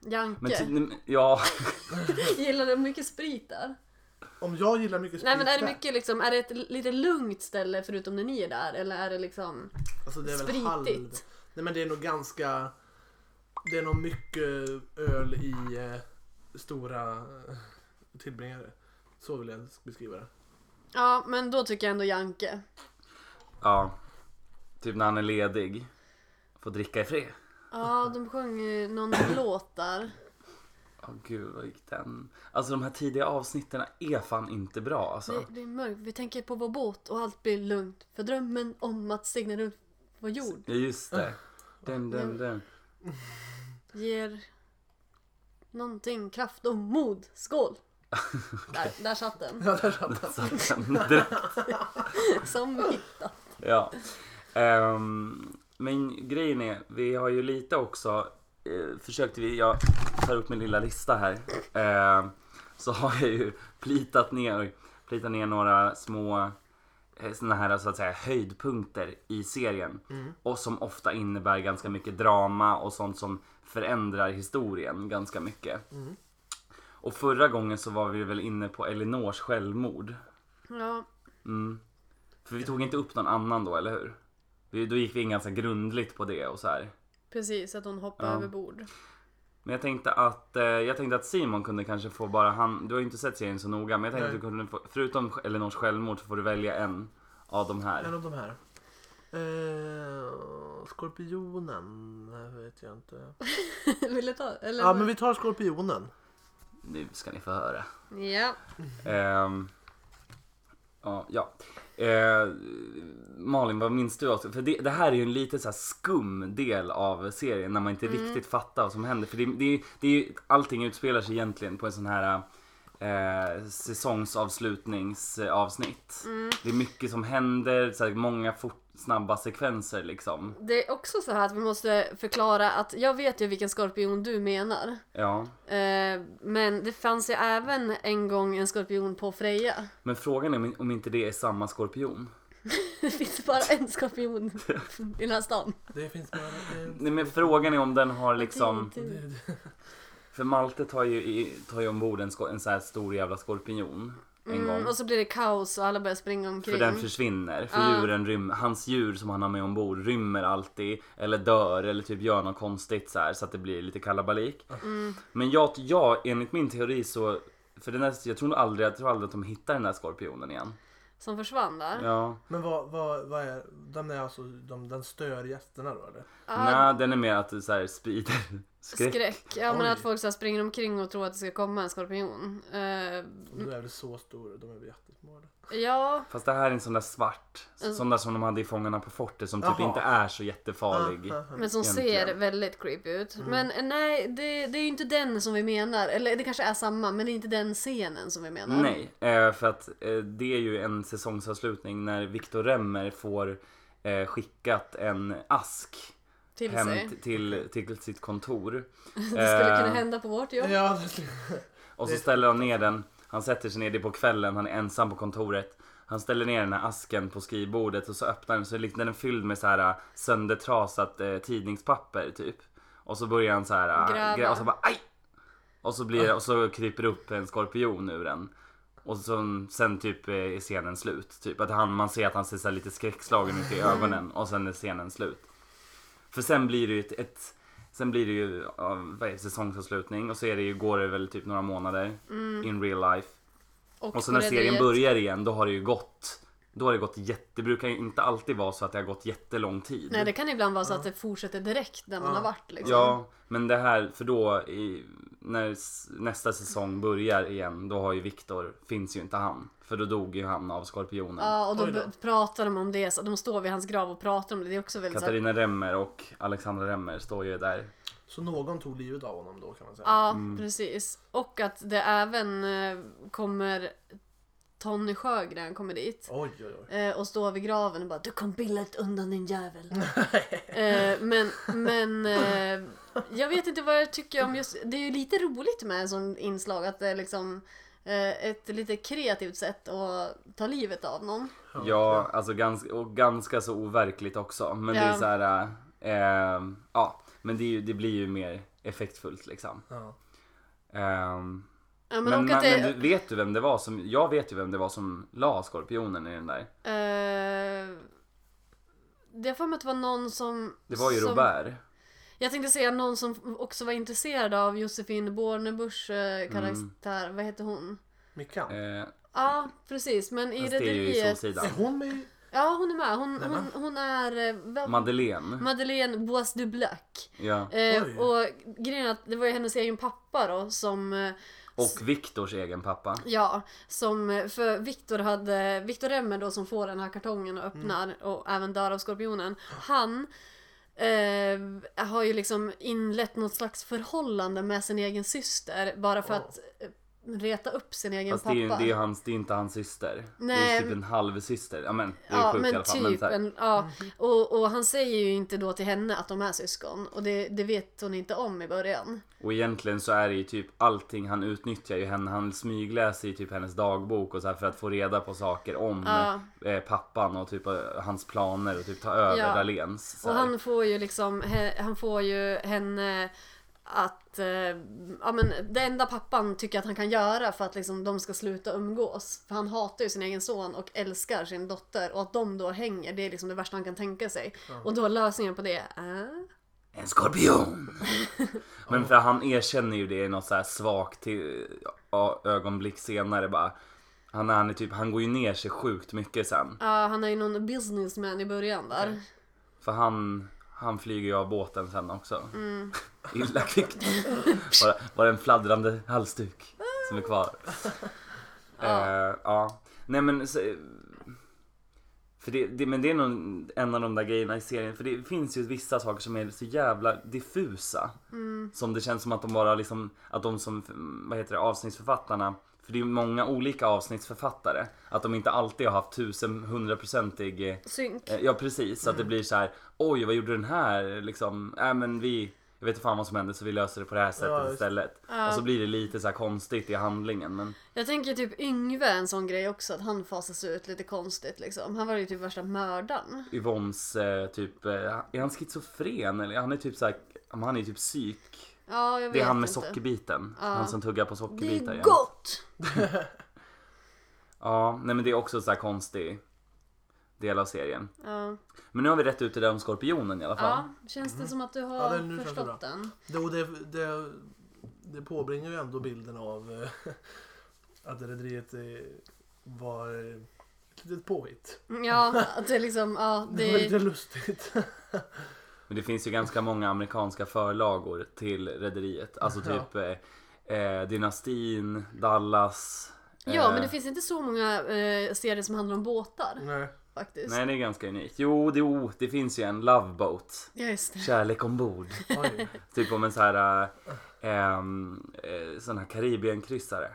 Speaker 2: Janke.
Speaker 1: Men ty- ja,
Speaker 2: Gillar du mycket sprit där?
Speaker 3: Om jag gillar mycket sprit
Speaker 2: Nej men är det
Speaker 3: där,
Speaker 2: mycket liksom, är det ett l- lite lugnt ställe förutom när ni är där? Eller är det liksom...
Speaker 3: Alltså det är väl
Speaker 2: Spritigt.
Speaker 3: halv... Nej men det är nog ganska... Det är nog mycket öl i eh, stora eh, tillbringare. Så vill jag beskriva det.
Speaker 2: Ja men då tycker jag ändå Janke.
Speaker 1: ja. Typ när han är ledig. Får dricka i fred.
Speaker 2: Ja de sjöng ju någon låt där.
Speaker 1: Åh gud vad gick den? Alltså de här tidiga avsnitten är fan inte bra alltså.
Speaker 2: Det, det är mörkt, vi tänker på vår båt och allt blir lugnt. För drömmen om att segla runt vår jord
Speaker 1: Ja just det. Den, den, den.
Speaker 2: ger någonting kraft och mod. Skål! Där, där satt den.
Speaker 3: Ja, där satt den.
Speaker 1: Så att den direkt.
Speaker 2: Som hittat.
Speaker 1: Ja. Ehm, men grejen är, vi har ju lite också eh, försökt, vi, jag tar upp min lilla lista här. Ehm, så har jag ju plitat ner, plitat ner några små eh, såna här så att säga höjdpunkter i serien. Och som ofta innebär ganska mycket drama och sånt som förändrar historien ganska mycket. Och förra gången så var vi väl inne på Elinors självmord.
Speaker 2: Ja,
Speaker 1: Mm. För vi tog inte upp någon annan då, eller hur? Vi, då gick vi in ganska grundligt på det och så här.
Speaker 2: precis. Att hon hoppade
Speaker 1: Ja.
Speaker 2: över bord.
Speaker 1: Men jag tänkte att, eh, jag tänkte att Simon kunde kanske få bara han, du har ju inte sett serien så noga, men jag tänkte
Speaker 3: Nej.
Speaker 1: att du kunde få, förutom Elinors självmord så får du välja en av de här.
Speaker 3: En av de här. Eh, skorpionen nej, vet jag inte.
Speaker 2: Vill du ta? Eller?
Speaker 3: Ja men vi tar skorpionen.
Speaker 1: Nu ska ni få höra.
Speaker 2: Ja.
Speaker 1: Ehm, ja, ja. Eh, Malin, vad minns du? Också? För det, det här är ju en lite så här skum del av serien när man inte riktigt fattar vad som händer. För det, det, det är ju, allting utspelar sig egentligen på en sån här eh, säsongsavslutningsavsnitt. Det är mycket som händer, så här, många fort, snabba sekvenser liksom.
Speaker 2: Det är också så här att vi måste förklara att jag vet ju vilken skorpion du menar.
Speaker 1: Ja.
Speaker 2: Eh, men det fanns ju även en gång en skorpion på Freja.
Speaker 1: Men frågan är om- om inte det är samma skorpion.
Speaker 2: Det finns bara en skorpion i den här stan.
Speaker 3: Det finns bara... Det,
Speaker 1: Nej, men frågan är om den har liksom...
Speaker 2: Det-
Speaker 1: För Malte tar ju, i- tar ju ombord en, sko- en så här stor jävla skorpion en
Speaker 2: Mm,
Speaker 1: gång.
Speaker 2: och så blir det kaos och alla börjar springa omkring.
Speaker 1: För den försvinner. För
Speaker 2: Ja.
Speaker 1: djuren rym- hans djur som han har med ombord rymmer alltid. Eller dör eller typ gör något konstigt så här så att det blir lite kalabalik.
Speaker 2: Mm.
Speaker 1: Men jag, jag, enligt min teori så, för den där, jag tror nog aldrig, jag tror aldrig att de hittar den där skorpionen igen.
Speaker 2: Som försvann där.
Speaker 1: Ja.
Speaker 3: men vad, vad, vad är... Den är alltså... De, den stör gästerna då eller?
Speaker 1: Nej, den är mer att det så här sprider, Skräck.
Speaker 2: Skräck. Ja men
Speaker 3: Oj.
Speaker 2: att folk så här springer omkring och tror att det ska komma en skorpion. Eh,
Speaker 3: De är väl så stora, de är väl jättesmå. eller?
Speaker 2: ja,
Speaker 1: Fast det här är en sån där svart.
Speaker 2: Mm.
Speaker 1: Sån där som de hade i Fångarna på fortet som typ
Speaker 3: Jaha.
Speaker 1: inte är så jättefarlig.
Speaker 3: Ah, ah, ah.
Speaker 2: men som
Speaker 1: Egentligen. Mm.
Speaker 2: ser väldigt creepy ut. Men eh, nej, det, det är ju inte den som vi menar. Eller det kanske är samma, men det är inte den scenen som vi menar.
Speaker 1: Nej, eh, för att eh, det är ju en säsongsavslutning när Viktor Remmer får eh, skickat en ask
Speaker 2: Till
Speaker 1: hem
Speaker 2: sig.
Speaker 1: t- till, till sitt kontor.
Speaker 2: Det skulle
Speaker 1: Eh,
Speaker 2: kunna hända på vårt jobb.
Speaker 3: Ja, det skulle-
Speaker 1: Och så ställer han ner den. Han sätter sig ner, det är på kvällen, han är ensam på kontoret. Han ställer ner den här asken på skrivbordet och så öppnar den så är liksom- den är fylld med så här äh, söndertrasat eh, tidningspapper typ. Och så börjar han så här äh,
Speaker 2: Gräva.
Speaker 1: grä- och så bara aj! Och så, blir, och så kryper det upp en skorpion ur den. Och så, sen typ eh, är scenen slut. Typ att han, man ser att han ser så här lite skräckslagen ut i ögonen och sen är scenen slut. För sen blir det ju ett, ett sen blir det ju ja, vad är det, säsongsavslutning och så är det ju, går det väl typ några månader
Speaker 2: Mm.
Speaker 1: in real life. Och så när
Speaker 2: på
Speaker 1: serien
Speaker 2: rederiet.
Speaker 1: börjar igen då har det ju gått då har det gått jätte, det brukar ju inte alltid vara så att det har gått jättelång tid.
Speaker 2: Nej, det kan ibland vara så att det fortsätter direkt där man har varit liksom.
Speaker 1: Ja, men det här, för då i, när s- nästa säsong börjar igen då har ju Viktor, finns ju inte han. För då dog ju han av Skorpionen.
Speaker 2: Ja, och då,
Speaker 3: Oj då.
Speaker 2: b- pratar de om det, så de står vid hans grav och pratar om det. Det är också väldigt så här-
Speaker 1: Katarina Remmer och Alexandra Remmer står ju där.
Speaker 3: Så någon tog livet av honom då kan man säga.
Speaker 2: Ja,
Speaker 1: Mm.
Speaker 2: precis. Och att det även eh, kommer Tony Sjögren kommer dit.
Speaker 3: Oj, oj, oj.
Speaker 2: eh, Och står vid graven och bara Du kom billigt undan din jävel. Eh, men men eh, jag vet inte vad jag tycker om just Det är ju lite roligt med en sån inslag att det är liksom eh, ett lite kreativt sätt att ta livet av någon.
Speaker 1: Ja, alltså ganska, och ganska så overkligt också. Men det är
Speaker 2: Ja.
Speaker 1: så här, eh, eh, ja, men det, är ju, det blir ju mer effektfullt liksom.
Speaker 3: Ja.
Speaker 1: Ehm,
Speaker 2: Ja, men,
Speaker 1: men men,
Speaker 2: och att det,
Speaker 1: men du, vet du vem det var som, jag vet ju vem det var som la skorpionen i den där.
Speaker 2: eh, det har för mig att det var någon som...
Speaker 1: Det var ju
Speaker 2: som,
Speaker 1: Robert.
Speaker 2: Jag tänkte säga någon som också var intresserad av Josefin Bornebuschs eh, karaktär.
Speaker 1: Mm.
Speaker 2: Vad heter hon?
Speaker 3: Mickan.
Speaker 1: Eh,
Speaker 2: Ja, precis. Men i
Speaker 1: fast det är ju i
Speaker 2: Rederiet...
Speaker 1: Solsidan.
Speaker 3: Är hon med i-
Speaker 2: Ja, hon är med. Hon, hon, hon är... eh, Vem?
Speaker 1: Madeleine.
Speaker 2: Madeleine Bois du Black.
Speaker 1: Ja.
Speaker 2: Eh,
Speaker 3: Oj.
Speaker 2: och grejen är att det var ju hennes egen pappa då som... eh,
Speaker 1: Och Viktors egen pappa.
Speaker 2: Ja, som eh, för Viktor hade, Viktor Remmer då som får den här kartongen
Speaker 1: Mm.
Speaker 2: och öppnar och även dör av skorpionen. Han eh, har ju liksom inlett något slags förhållande med sin egen syster bara för att eh, reta upp sin egen
Speaker 1: Fast det är
Speaker 2: pappa.
Speaker 1: ju det är ju hans, det är inte hans syster. Det är
Speaker 2: Nej.
Speaker 1: typ en halvsyster. Ja men det är
Speaker 2: Ja
Speaker 1: sjukt i
Speaker 2: men
Speaker 1: alla fall.
Speaker 2: typ.
Speaker 1: Men så här,
Speaker 2: en, ja. och, och han säger ju inte då till henne att de är syskon och det, det vet hon inte om i början.
Speaker 1: Och egentligen så är det ju typ allting han utnyttjar ju henne. Han smygläser ju typ hennes dagbok och så här för att få reda på saker om
Speaker 2: Ja.
Speaker 1: eh, pappan och typ eh, hans planer och typ ta över
Speaker 2: Ja.
Speaker 1: Dahléns. så
Speaker 2: Och
Speaker 1: här.
Speaker 2: han får ju liksom, he- han får ju henne att, eh, ja men det enda pappan tycker att han kan göra för att liksom de ska sluta umgås. För han hatar ju sin egen son och älskar sin dotter och att de då hänger, det är liksom det värsta han kan tänka sig. Och då lösningen på det är...
Speaker 1: En skorpion! Men för han erkänner ju det i något så här svagt till, ja, ögonblick senare bara. Han, han, är typ, han går ju ner sig sjukt mycket sen.
Speaker 2: Ja, han är ju någon businessman i början där.
Speaker 1: För han, han flyger ju av båten sen också. Illa kvickt. Bara, bara en fladdrande halsduk som är kvar. ja. ja. Nej men. Så, för det, det, men det är nog en av de där grejerna i serien. För det finns ju vissa saker som är så jävla diffusa. Som det känns som att de bara liksom, att de som, vad heter det, avsnittsförfattarna. För det är ju många olika avsnittsförfattare. Att de inte alltid har haft tusen, hundraprocentig eh,
Speaker 2: Synk.
Speaker 1: Eh, Ja precis, så att det blir så här. oj vad gjorde den här liksom, äh, men vi, jag vet inte fan vad som hände så vi löser det på det här sättet
Speaker 3: Ja, just-
Speaker 1: istället. Och så blir det lite så här konstigt i handlingen men
Speaker 2: Jag tänker typ Yngve är en sån grej också, att han fasas ut lite konstigt liksom. Han var ju typ värsta mördaren.
Speaker 1: Yvonnes eh, typ, eh, är han schizofren eller? Han är typ så här, men han är typ psyk.
Speaker 2: Ja, jag vet
Speaker 1: Det är han med
Speaker 2: inte.
Speaker 1: sockerbiten, han som tuggar på
Speaker 2: Det
Speaker 1: sockerbitar
Speaker 2: är
Speaker 1: igen.
Speaker 2: gott!
Speaker 1: Ja, nej men det är också så här konstig del av serien.
Speaker 2: Ja.
Speaker 1: Men nu har vi rätt ut det där om skorpionen i alla fall.
Speaker 2: Ja, känns det som att du har
Speaker 3: Mm. Ja, det- nu känns det
Speaker 2: förstått
Speaker 3: bra.
Speaker 2: den?
Speaker 3: Det, och det, det, det påbringar ju ändå bilden av eh, att rederiet eh, var eh, ett litet påhitt.
Speaker 2: Ja, att det liksom, ja,
Speaker 3: Det var
Speaker 2: det,
Speaker 3: lite lustigt.
Speaker 1: Men det finns ju ganska många amerikanska förlagor till Rederiet. Alltså typ eh, eh, Dynastin, Dallas.
Speaker 2: Ja,
Speaker 1: eh,
Speaker 2: men det finns inte så många eh, serier som handlar om båtar
Speaker 3: Nej.
Speaker 2: faktiskt.
Speaker 1: Nej, det är ganska unikt. Jo, det, oh, det finns ju en Love Boat.
Speaker 2: Ja, just det.
Speaker 1: Kärlek ombord.
Speaker 3: Oj.
Speaker 1: typ om en sån här, eh, ehm, eh, sån här Karibienkryssare.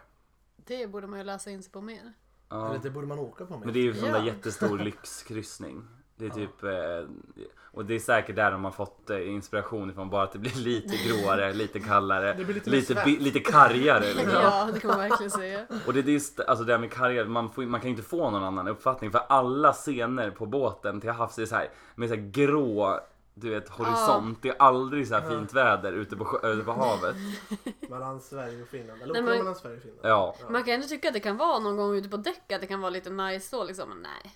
Speaker 2: Det borde man ju läsa in sig på mer.
Speaker 1: Ja.
Speaker 3: Eller det borde man åka på.
Speaker 1: Men det är ju en sån där
Speaker 2: Ja.
Speaker 1: jättestor lyxkryssning. Det är typ, eh, och det är säkert där de har fått eh, inspiration ifrån. Bara att det blir lite gråare, lite kallare,
Speaker 3: Det blir lite mer
Speaker 1: lite, bi-
Speaker 3: svenskt.
Speaker 1: lite kargare. Liksom.
Speaker 2: Ja, det kan man verkligen säga.
Speaker 1: Och det, är just, alltså det här med karriär, man, får, man kan ju inte få någon annan uppfattning för alla scener på båten till havs är så här med så här grå du vet horisont. Det är aldrig så här fint väder ute på, sjö- ute på havet.
Speaker 3: Mellan Sverige och Finland. Eller
Speaker 2: Nej,
Speaker 3: åka
Speaker 2: men-
Speaker 3: mellan Sverige och Finland.
Speaker 1: Ja.
Speaker 2: Man kan ändå tycka att det kan vara någon gång ute på däck att det kan vara lite nice då liksom, men nej.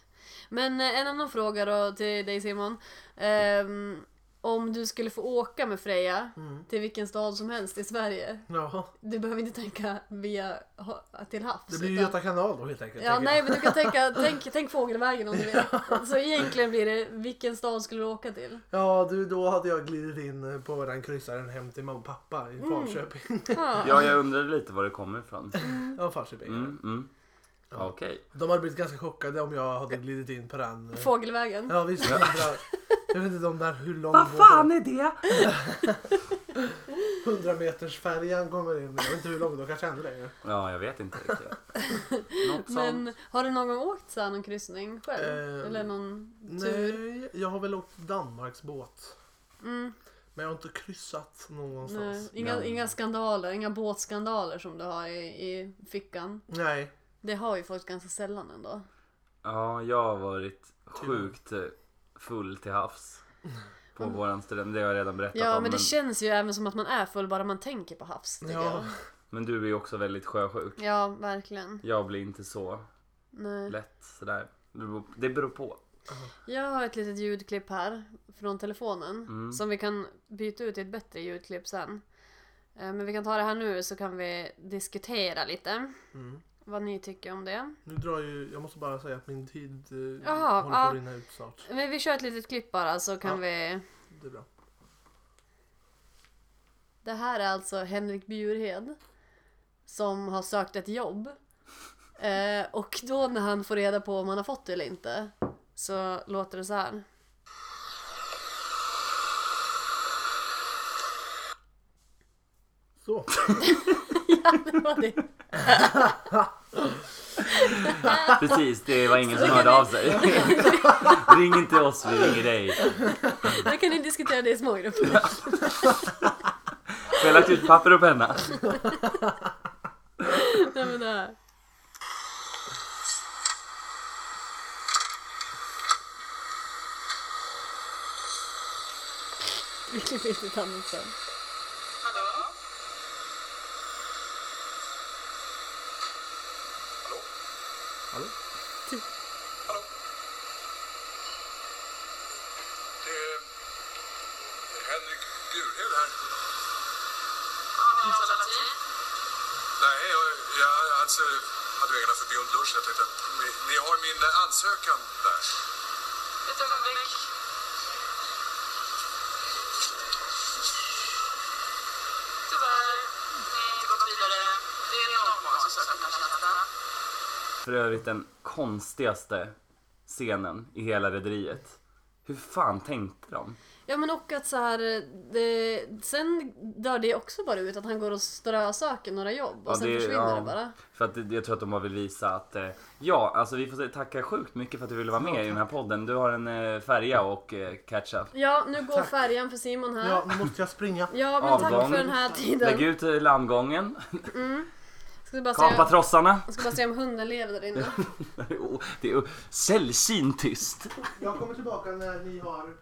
Speaker 2: Men eh, en annan fråga då till dig Simon. Ehm, om du skulle få åka med Freja
Speaker 3: Mm.
Speaker 2: till vilken stad som helst i Sverige.
Speaker 3: Jaha.
Speaker 2: Du behöver inte tänka via, ha- till havs.
Speaker 3: Det blir ju
Speaker 2: utan-
Speaker 3: Göta kanal då helt enkelt.
Speaker 2: Ja,
Speaker 3: tänker
Speaker 2: nej
Speaker 3: jag.
Speaker 2: men du kan tänka, tänk, tänk fågelvägen om du vill. Så egentligen blir det, vilken stad skulle du åka till?
Speaker 3: ja du, då hade jag glidit in eh, på den kryssaren hem till mamma och pappa
Speaker 2: Mm.
Speaker 3: i Falköping.
Speaker 2: Ja.
Speaker 1: ja, jag undrade lite var det kommer ifrån.
Speaker 3: ja, Falköping.
Speaker 1: Mm, mm. Okej.
Speaker 3: De hade blivit ganska chockade om jag hade glidit in på den. eh,
Speaker 2: Fågelvägen.
Speaker 3: Ja, visst. Jag vet inte om där hur lång
Speaker 1: Vad fan är det?
Speaker 3: 100 meters färjan kommer in. Jag vet inte hur lång, de kanske är ännu längre.
Speaker 1: Ja, jag vet inte riktigt. Något sånt.
Speaker 2: Men har du någon gång åkt så här någon kryssning själv?
Speaker 3: Eh,
Speaker 2: Eller någon tur?
Speaker 3: Nej, jag har väl åkt Danmarks båt.
Speaker 2: Mm.
Speaker 3: Men jag har inte kryssat
Speaker 2: Nej,
Speaker 3: någonstans. Nej.
Speaker 2: inga,
Speaker 1: Men-
Speaker 2: inga skandaler, inga båtskandaler som du har i, i fickan. Det har ju folk ganska sällan ändå.
Speaker 1: Ja, jag har varit
Speaker 2: Typ.
Speaker 1: sjukt eh, full till havs. På våran student, det har jag redan berättat
Speaker 2: Mm. Ja,
Speaker 1: om.
Speaker 2: men det känns ju även som att man är full bara man tänker på havs. tycker
Speaker 3: Ja.
Speaker 1: men du är ju också väldigt sjösjuk.
Speaker 2: Jag. Ja, verkligen.
Speaker 1: Jag blir inte så
Speaker 2: Nej.
Speaker 1: lätt sådär. Det beror- Det beror på.
Speaker 2: Jag har ett litet ljudklipp här från telefonen som vi kan byta ut till ett bättre ljudklipp sen. Eh, Men vi kan ta det här nu så kan vi diskutera lite
Speaker 3: Mm.
Speaker 2: vad ni tycker om det.
Speaker 3: Nu drar ju, jag måste bara säga att min tid eh,
Speaker 2: Jaha,
Speaker 3: håller på att
Speaker 2: ja.
Speaker 3: rinna ut snart.
Speaker 2: Men vi kör ett litet klipp bara så kan
Speaker 3: Ja.
Speaker 2: vi...
Speaker 3: Det är bra.
Speaker 2: Det här är alltså Henrik Bjurhed som har sökt ett jobb. Eh, och då när han får reda på om han har fått det eller inte så låter det så här.
Speaker 3: Så.
Speaker 2: Ja, det var det.
Speaker 1: Precis, det var ingen som
Speaker 2: kan
Speaker 1: hörde
Speaker 2: vi-
Speaker 1: av sig. Ring inte oss, vi ringer dig.
Speaker 2: Då kan ni diskutera det i smågrupper.
Speaker 1: Vi har lagt ut papper och penna.
Speaker 2: Nej, men det här. Vi klipper inte ett annat sen.
Speaker 3: Hallå?
Speaker 6: Det är Eh, Henrik Bjurhed här. Nej, jag- jag alltså, hade ju egna förbjuden lunch. Jag tänkte att ni, ni har min ansökan där.
Speaker 7: Ett ögonblick. Tyvärr, ni har inte gått vidare. Det är någon annan som söker den här tjänsten.
Speaker 1: För övrigt den konstigaste scenen i hela Rederiet. Hur fan tänkte de?
Speaker 2: Ja men och att så här, det, sen dör det också bara ut att han går och strösöker några jobb och sen försvinner det bara.
Speaker 1: För att det- jag tror att de bara vill visa att eh, ja, alltså vi får säga tacka sjukt mycket för att du ville vara med i den här podden. Du har en eh, färja och eh, catch-up.
Speaker 2: Ja, nu går färjan för Simon här.
Speaker 3: Ja,
Speaker 2: Ja,
Speaker 3: nu måste jag springa.
Speaker 2: men tack
Speaker 1: Avgång.
Speaker 2: för den här
Speaker 1: Lägg
Speaker 2: tiden.
Speaker 1: ut eh, landgången,
Speaker 2: Ska bara
Speaker 1: kapa
Speaker 2: säga,
Speaker 1: trossarna.
Speaker 2: jag ska bara se om hunden lever där inne.
Speaker 1: Oh, Det är sällsynt tyst.
Speaker 3: Jag kommer tillbaka när ni har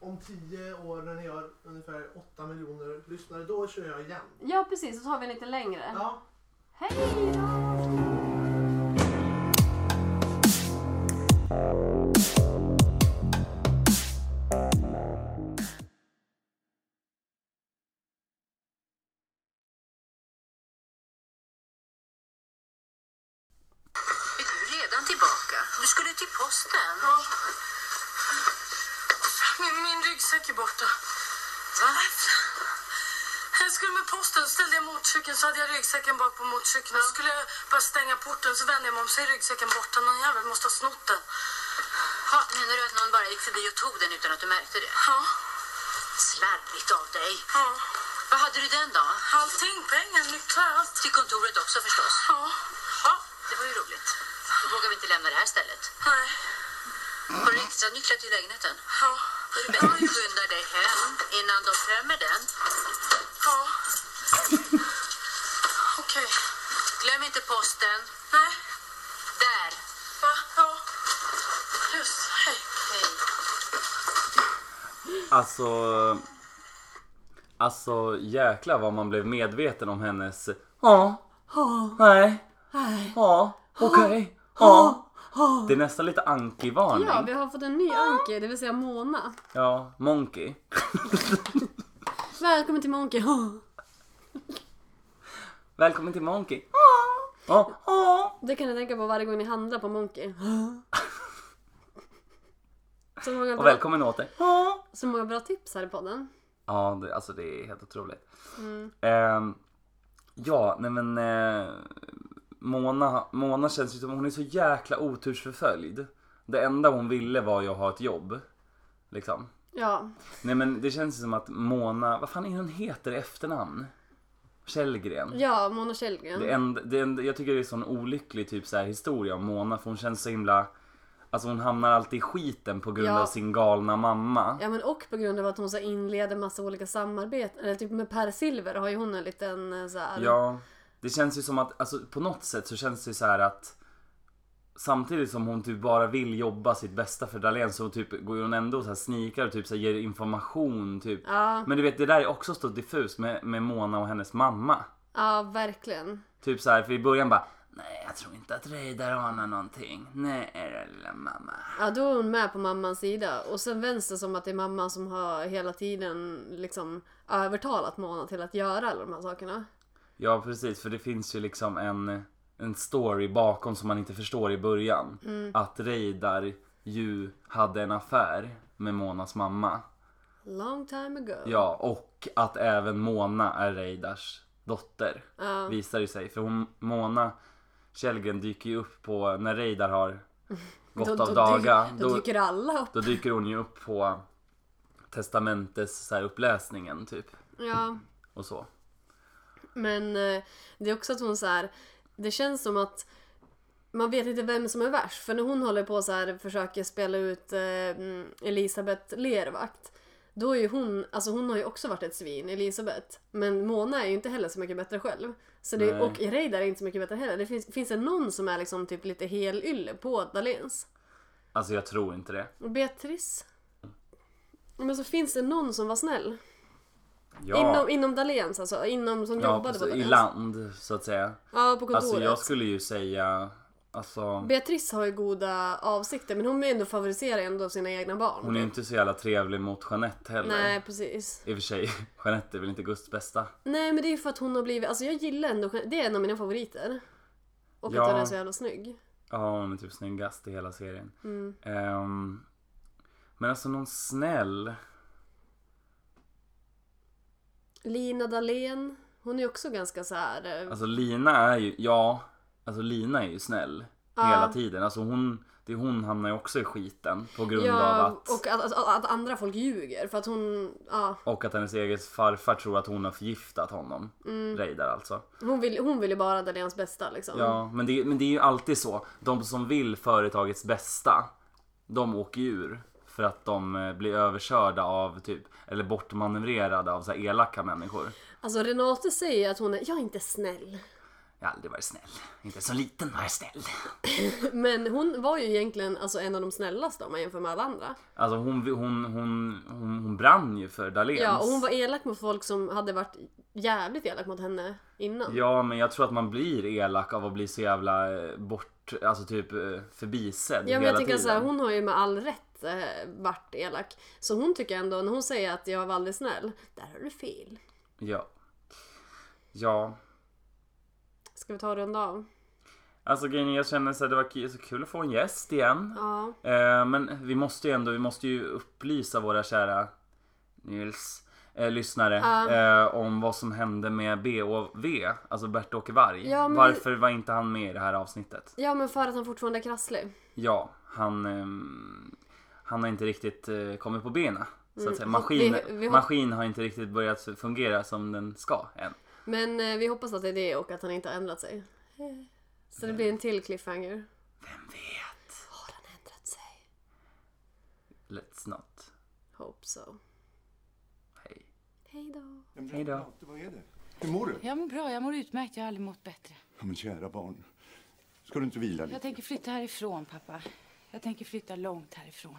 Speaker 3: om tio år när ni har ungefär 8 miljoner lyssnare. Då kör jag igen.
Speaker 2: Ja precis, så tar vi en lite längre.
Speaker 3: Ja.
Speaker 2: Hej
Speaker 7: Är du redan tillbaka? Du skulle till posten. Ja. Min, min ryggsäck är borta. Va? Jag skulle med posten, ställde jag motorcykeln så hade jag ryggsäcken bak på motorcykeln. Så skulle jag bara stänga porten så vände jag mig om så är ryggsäcken borta. Någon jävel måste ha snott den.
Speaker 8: Ha, menar du att någon bara gick förbi och tog den utan att du märkte det?
Speaker 7: Ja,
Speaker 8: Slarvigt av dig.
Speaker 7: ja.
Speaker 8: Vad hade du den då?
Speaker 7: Allting, pengar, nycklar, allt.
Speaker 8: Till kontoret också förstås.
Speaker 7: Ja.
Speaker 8: Ja, det var ju roligt. Då vågar vi inte lämna det här stället.
Speaker 7: Nej.
Speaker 8: Har du extra nycklar till lägenheten?
Speaker 7: Ja.
Speaker 8: Då är det bättre att du skyndar dig hem innan de tömmer den.
Speaker 7: Ja. Okej.
Speaker 8: Glöm inte posten.
Speaker 7: Nej.
Speaker 8: Där.
Speaker 7: Va? Ja. Just. Hej.
Speaker 8: Hej.
Speaker 1: Alltså... Alltså jäklar vad man blev medveten om hennes... Ja. Nej. Ja. Okej. Ja. Det är nästan lite
Speaker 2: Ja, vi
Speaker 1: Anki-varning.
Speaker 2: har fått en ny Anki, det vill säga Mona.
Speaker 1: Ja, Monkey.
Speaker 2: Välkommen till Monkey.
Speaker 1: Välkommen till Monkey. Ja. Ja.
Speaker 2: Det kan ni tänka på varje gång ni handlar på Monkey. Så många
Speaker 1: Och
Speaker 2: bra,
Speaker 1: välkommen åter.
Speaker 2: så många bra tips här i podden.
Speaker 1: Ja, det, alltså det är helt otroligt.
Speaker 2: Mm.
Speaker 1: Ehm, ja, nej men eh, Mona, Mona känns ju som hon är så jäkla otursförföljd. Det enda hon ville var ju att ha ett jobb. Liksom.
Speaker 2: Ja,
Speaker 1: Nej men det känns ju som att Mona, vad fan är hon heter i efternamn? Källgren.
Speaker 2: ja Mona
Speaker 1: Det
Speaker 2: Källgren.
Speaker 1: en, det en, jag tycker det är en sån olycklig typ så här historia om Mona för hon känns så himla Alltså hon hamnar alltid i skiten på grund
Speaker 2: Ja.
Speaker 1: av sin galna mamma.
Speaker 2: Ja men och på grund av att hon så här inleder massa olika samarbeten. Eller typ med Per Silver har ju hon en liten eh, så här.
Speaker 1: Ja, det känns ju som att, alltså på något sätt så känns det ju så här att Samtidigt som hon typ bara vill jobba sitt bästa för Dahlén så typ går hon ändå så här snikar och typ så här ger information typ.
Speaker 2: Ja,
Speaker 1: Men du vet det där är också så diffust med, med Mona och hennes mamma.
Speaker 2: ja verkligen.
Speaker 1: Typ så här för i början bara Nej jag tror inte att Reidar anar någonting. Nej då, lilla mamma.
Speaker 2: Ja, då är hon med på mammans sida. Och sen vänds det som att det är mamman som har hela tiden liksom övertalat Mona till att göra alla de här sakerna.
Speaker 1: Ja precis för det finns ju liksom en, en story bakom som man inte förstår i början.
Speaker 2: Mm.
Speaker 1: Att Reidar ju hade en affär med Monas mamma.
Speaker 2: Long time ago.
Speaker 1: Ja, och att även Mona är Reidars dotter.
Speaker 2: Ja.
Speaker 1: Visar det sig. För hon, Mona Källgren dyker ju upp på, när Reidar har gått
Speaker 2: Då-
Speaker 1: av
Speaker 2: då
Speaker 1: daga.
Speaker 2: dyker-
Speaker 1: Då,
Speaker 2: Då dyker alla upp.
Speaker 1: då dyker hon ju upp på testamentes så här, uppläsningen typ.
Speaker 2: Ja.
Speaker 1: Och så.
Speaker 2: Men eh, det är också att hon så här, det känns som att man vet inte vem som är värst. För när hon håller på så här försöker spela ut eh, mm, Elisabeth Lervakt. Då är ju hon, alltså hon har ju också varit ett svin, Elisabeth. Men Mona är ju inte heller så mycket bättre själv. Så det,
Speaker 1: Nej.
Speaker 2: och Reidar är inte så mycket bättre heller. Det finns, finns det någon som är liksom typ lite helylle på Dahléns?
Speaker 1: Alltså jag tror inte det.
Speaker 2: Och Beatrice? Men så finns det någon som var snäll?
Speaker 1: Ja,
Speaker 2: Inom, inom Dahléns alltså, inom som
Speaker 1: ja
Speaker 2: jobbade på
Speaker 1: precis, i
Speaker 2: Dahléns?
Speaker 1: land så att säga.
Speaker 2: Ja, på kontoret.
Speaker 1: Alltså jag skulle ju säga, alltså
Speaker 2: Beatrice har ju goda avsikter men hon är ändå favoriserar ändå sina egna barn.
Speaker 1: hon är ju inte så jävla trevlig mot Jeanette heller.
Speaker 2: Nej precis.
Speaker 1: I och för sig, Jeanette är väl inte Gusts bästa.
Speaker 2: Nej men det är ju för att hon har blivit, alltså jag gillar ändå, det är en av mina favoriter. Och
Speaker 1: Ja.
Speaker 2: att hon är så jävla snygg.
Speaker 1: Ja, hon är typ snyggast i hela serien.
Speaker 2: Mm.
Speaker 1: Ehm, men alltså någon snäll.
Speaker 2: Lina Dahlén, hon är ju också ganska så här. eh,
Speaker 1: Alltså Lina är ju, ja. Alltså Lina är ju snäll.
Speaker 2: Ja.
Speaker 1: Hela tiden. Alltså hon, det, hon hamnar ju också i skiten på grund av
Speaker 2: ja,
Speaker 1: att. Och...
Speaker 2: och att, att, att andra folk ljuger för att hon, ja,
Speaker 1: att hennes eget farfar tror att hon har förgiftat honom.
Speaker 2: Mm.
Speaker 1: Reidar alltså.
Speaker 2: hon vill, hon vill ju bara Dahléns bästa liksom.
Speaker 1: Ja, men det, men det är ju alltid så. De som vill företagets bästa, de åker ju ur. För att de eh, blir överkörda av typ, eller bortmanövrerade av så här elaka människor.
Speaker 2: Alltså Renate säger att hon är, jag är inte snäll.
Speaker 1: Jag har aldrig varit snäll. Inte så liten var jag snäll.
Speaker 2: Men hon var ju egentligen alltså en av de snällaste om man jämför med alla andra.
Speaker 1: Alltså hon, hon, hon, hon, hon brann ju för Dahléns.
Speaker 2: Ja, och hon var elak mot folk som hade varit jävligt elak mot henne innan.
Speaker 1: Ja, men jag tror att man blir elak av att bli så jävla eh, bort, alltså typ eh, förbisedd
Speaker 2: Ja, men
Speaker 1: hela
Speaker 2: jag tänker
Speaker 1: tiden.
Speaker 2: så här, hon har ju med all rätt eh, varit elak. Så hon tycker ändå, när hon säger att jag var aldrig snäll, där har du fel.
Speaker 1: Ja. Ja,
Speaker 2: Ska vi ta och runda av?
Speaker 1: Alltså grejen är, jag känner så här, det var ki- så kul att få en gäst igen.
Speaker 2: Ja.
Speaker 1: Eh, men vi måste ju ändå, vi måste ju upplysa våra kära Nils eh, lyssnare eh, om vad som hände med BOV, alltså Bert-Åke Varg.
Speaker 2: Ja, men-
Speaker 1: Varför var inte han med i det här avsnittet?
Speaker 2: ja, men för att han fortfarande är krasslig.
Speaker 1: Ja, han, ehm, han har inte riktigt eh, kommit på benen. Så att säga.
Speaker 2: hopp- Mm. vi-
Speaker 1: Maskin,
Speaker 2: vi hopp-
Speaker 1: maskin har inte riktigt börjat fungera som den ska än.
Speaker 2: Men eh, vi hoppas att det är det och att han inte har ändrat sig. Eh, Så det blir en till cliffhanger.
Speaker 1: Vem vet?
Speaker 2: Har han ändrat sig?
Speaker 1: Let's not.
Speaker 2: Hope so.
Speaker 1: Hej.
Speaker 2: Hej då.
Speaker 1: Hej då.
Speaker 9: Vad är det? Hur mår du?
Speaker 10: Jag mår bra, jag mår utmärkt. Jag har aldrig mått bättre.
Speaker 9: Ja, men kära barn. Ska du inte vila
Speaker 10: Jag
Speaker 9: lite?
Speaker 10: tänker flytta härifrån, pappa. Jag tänker flytta långt härifrån.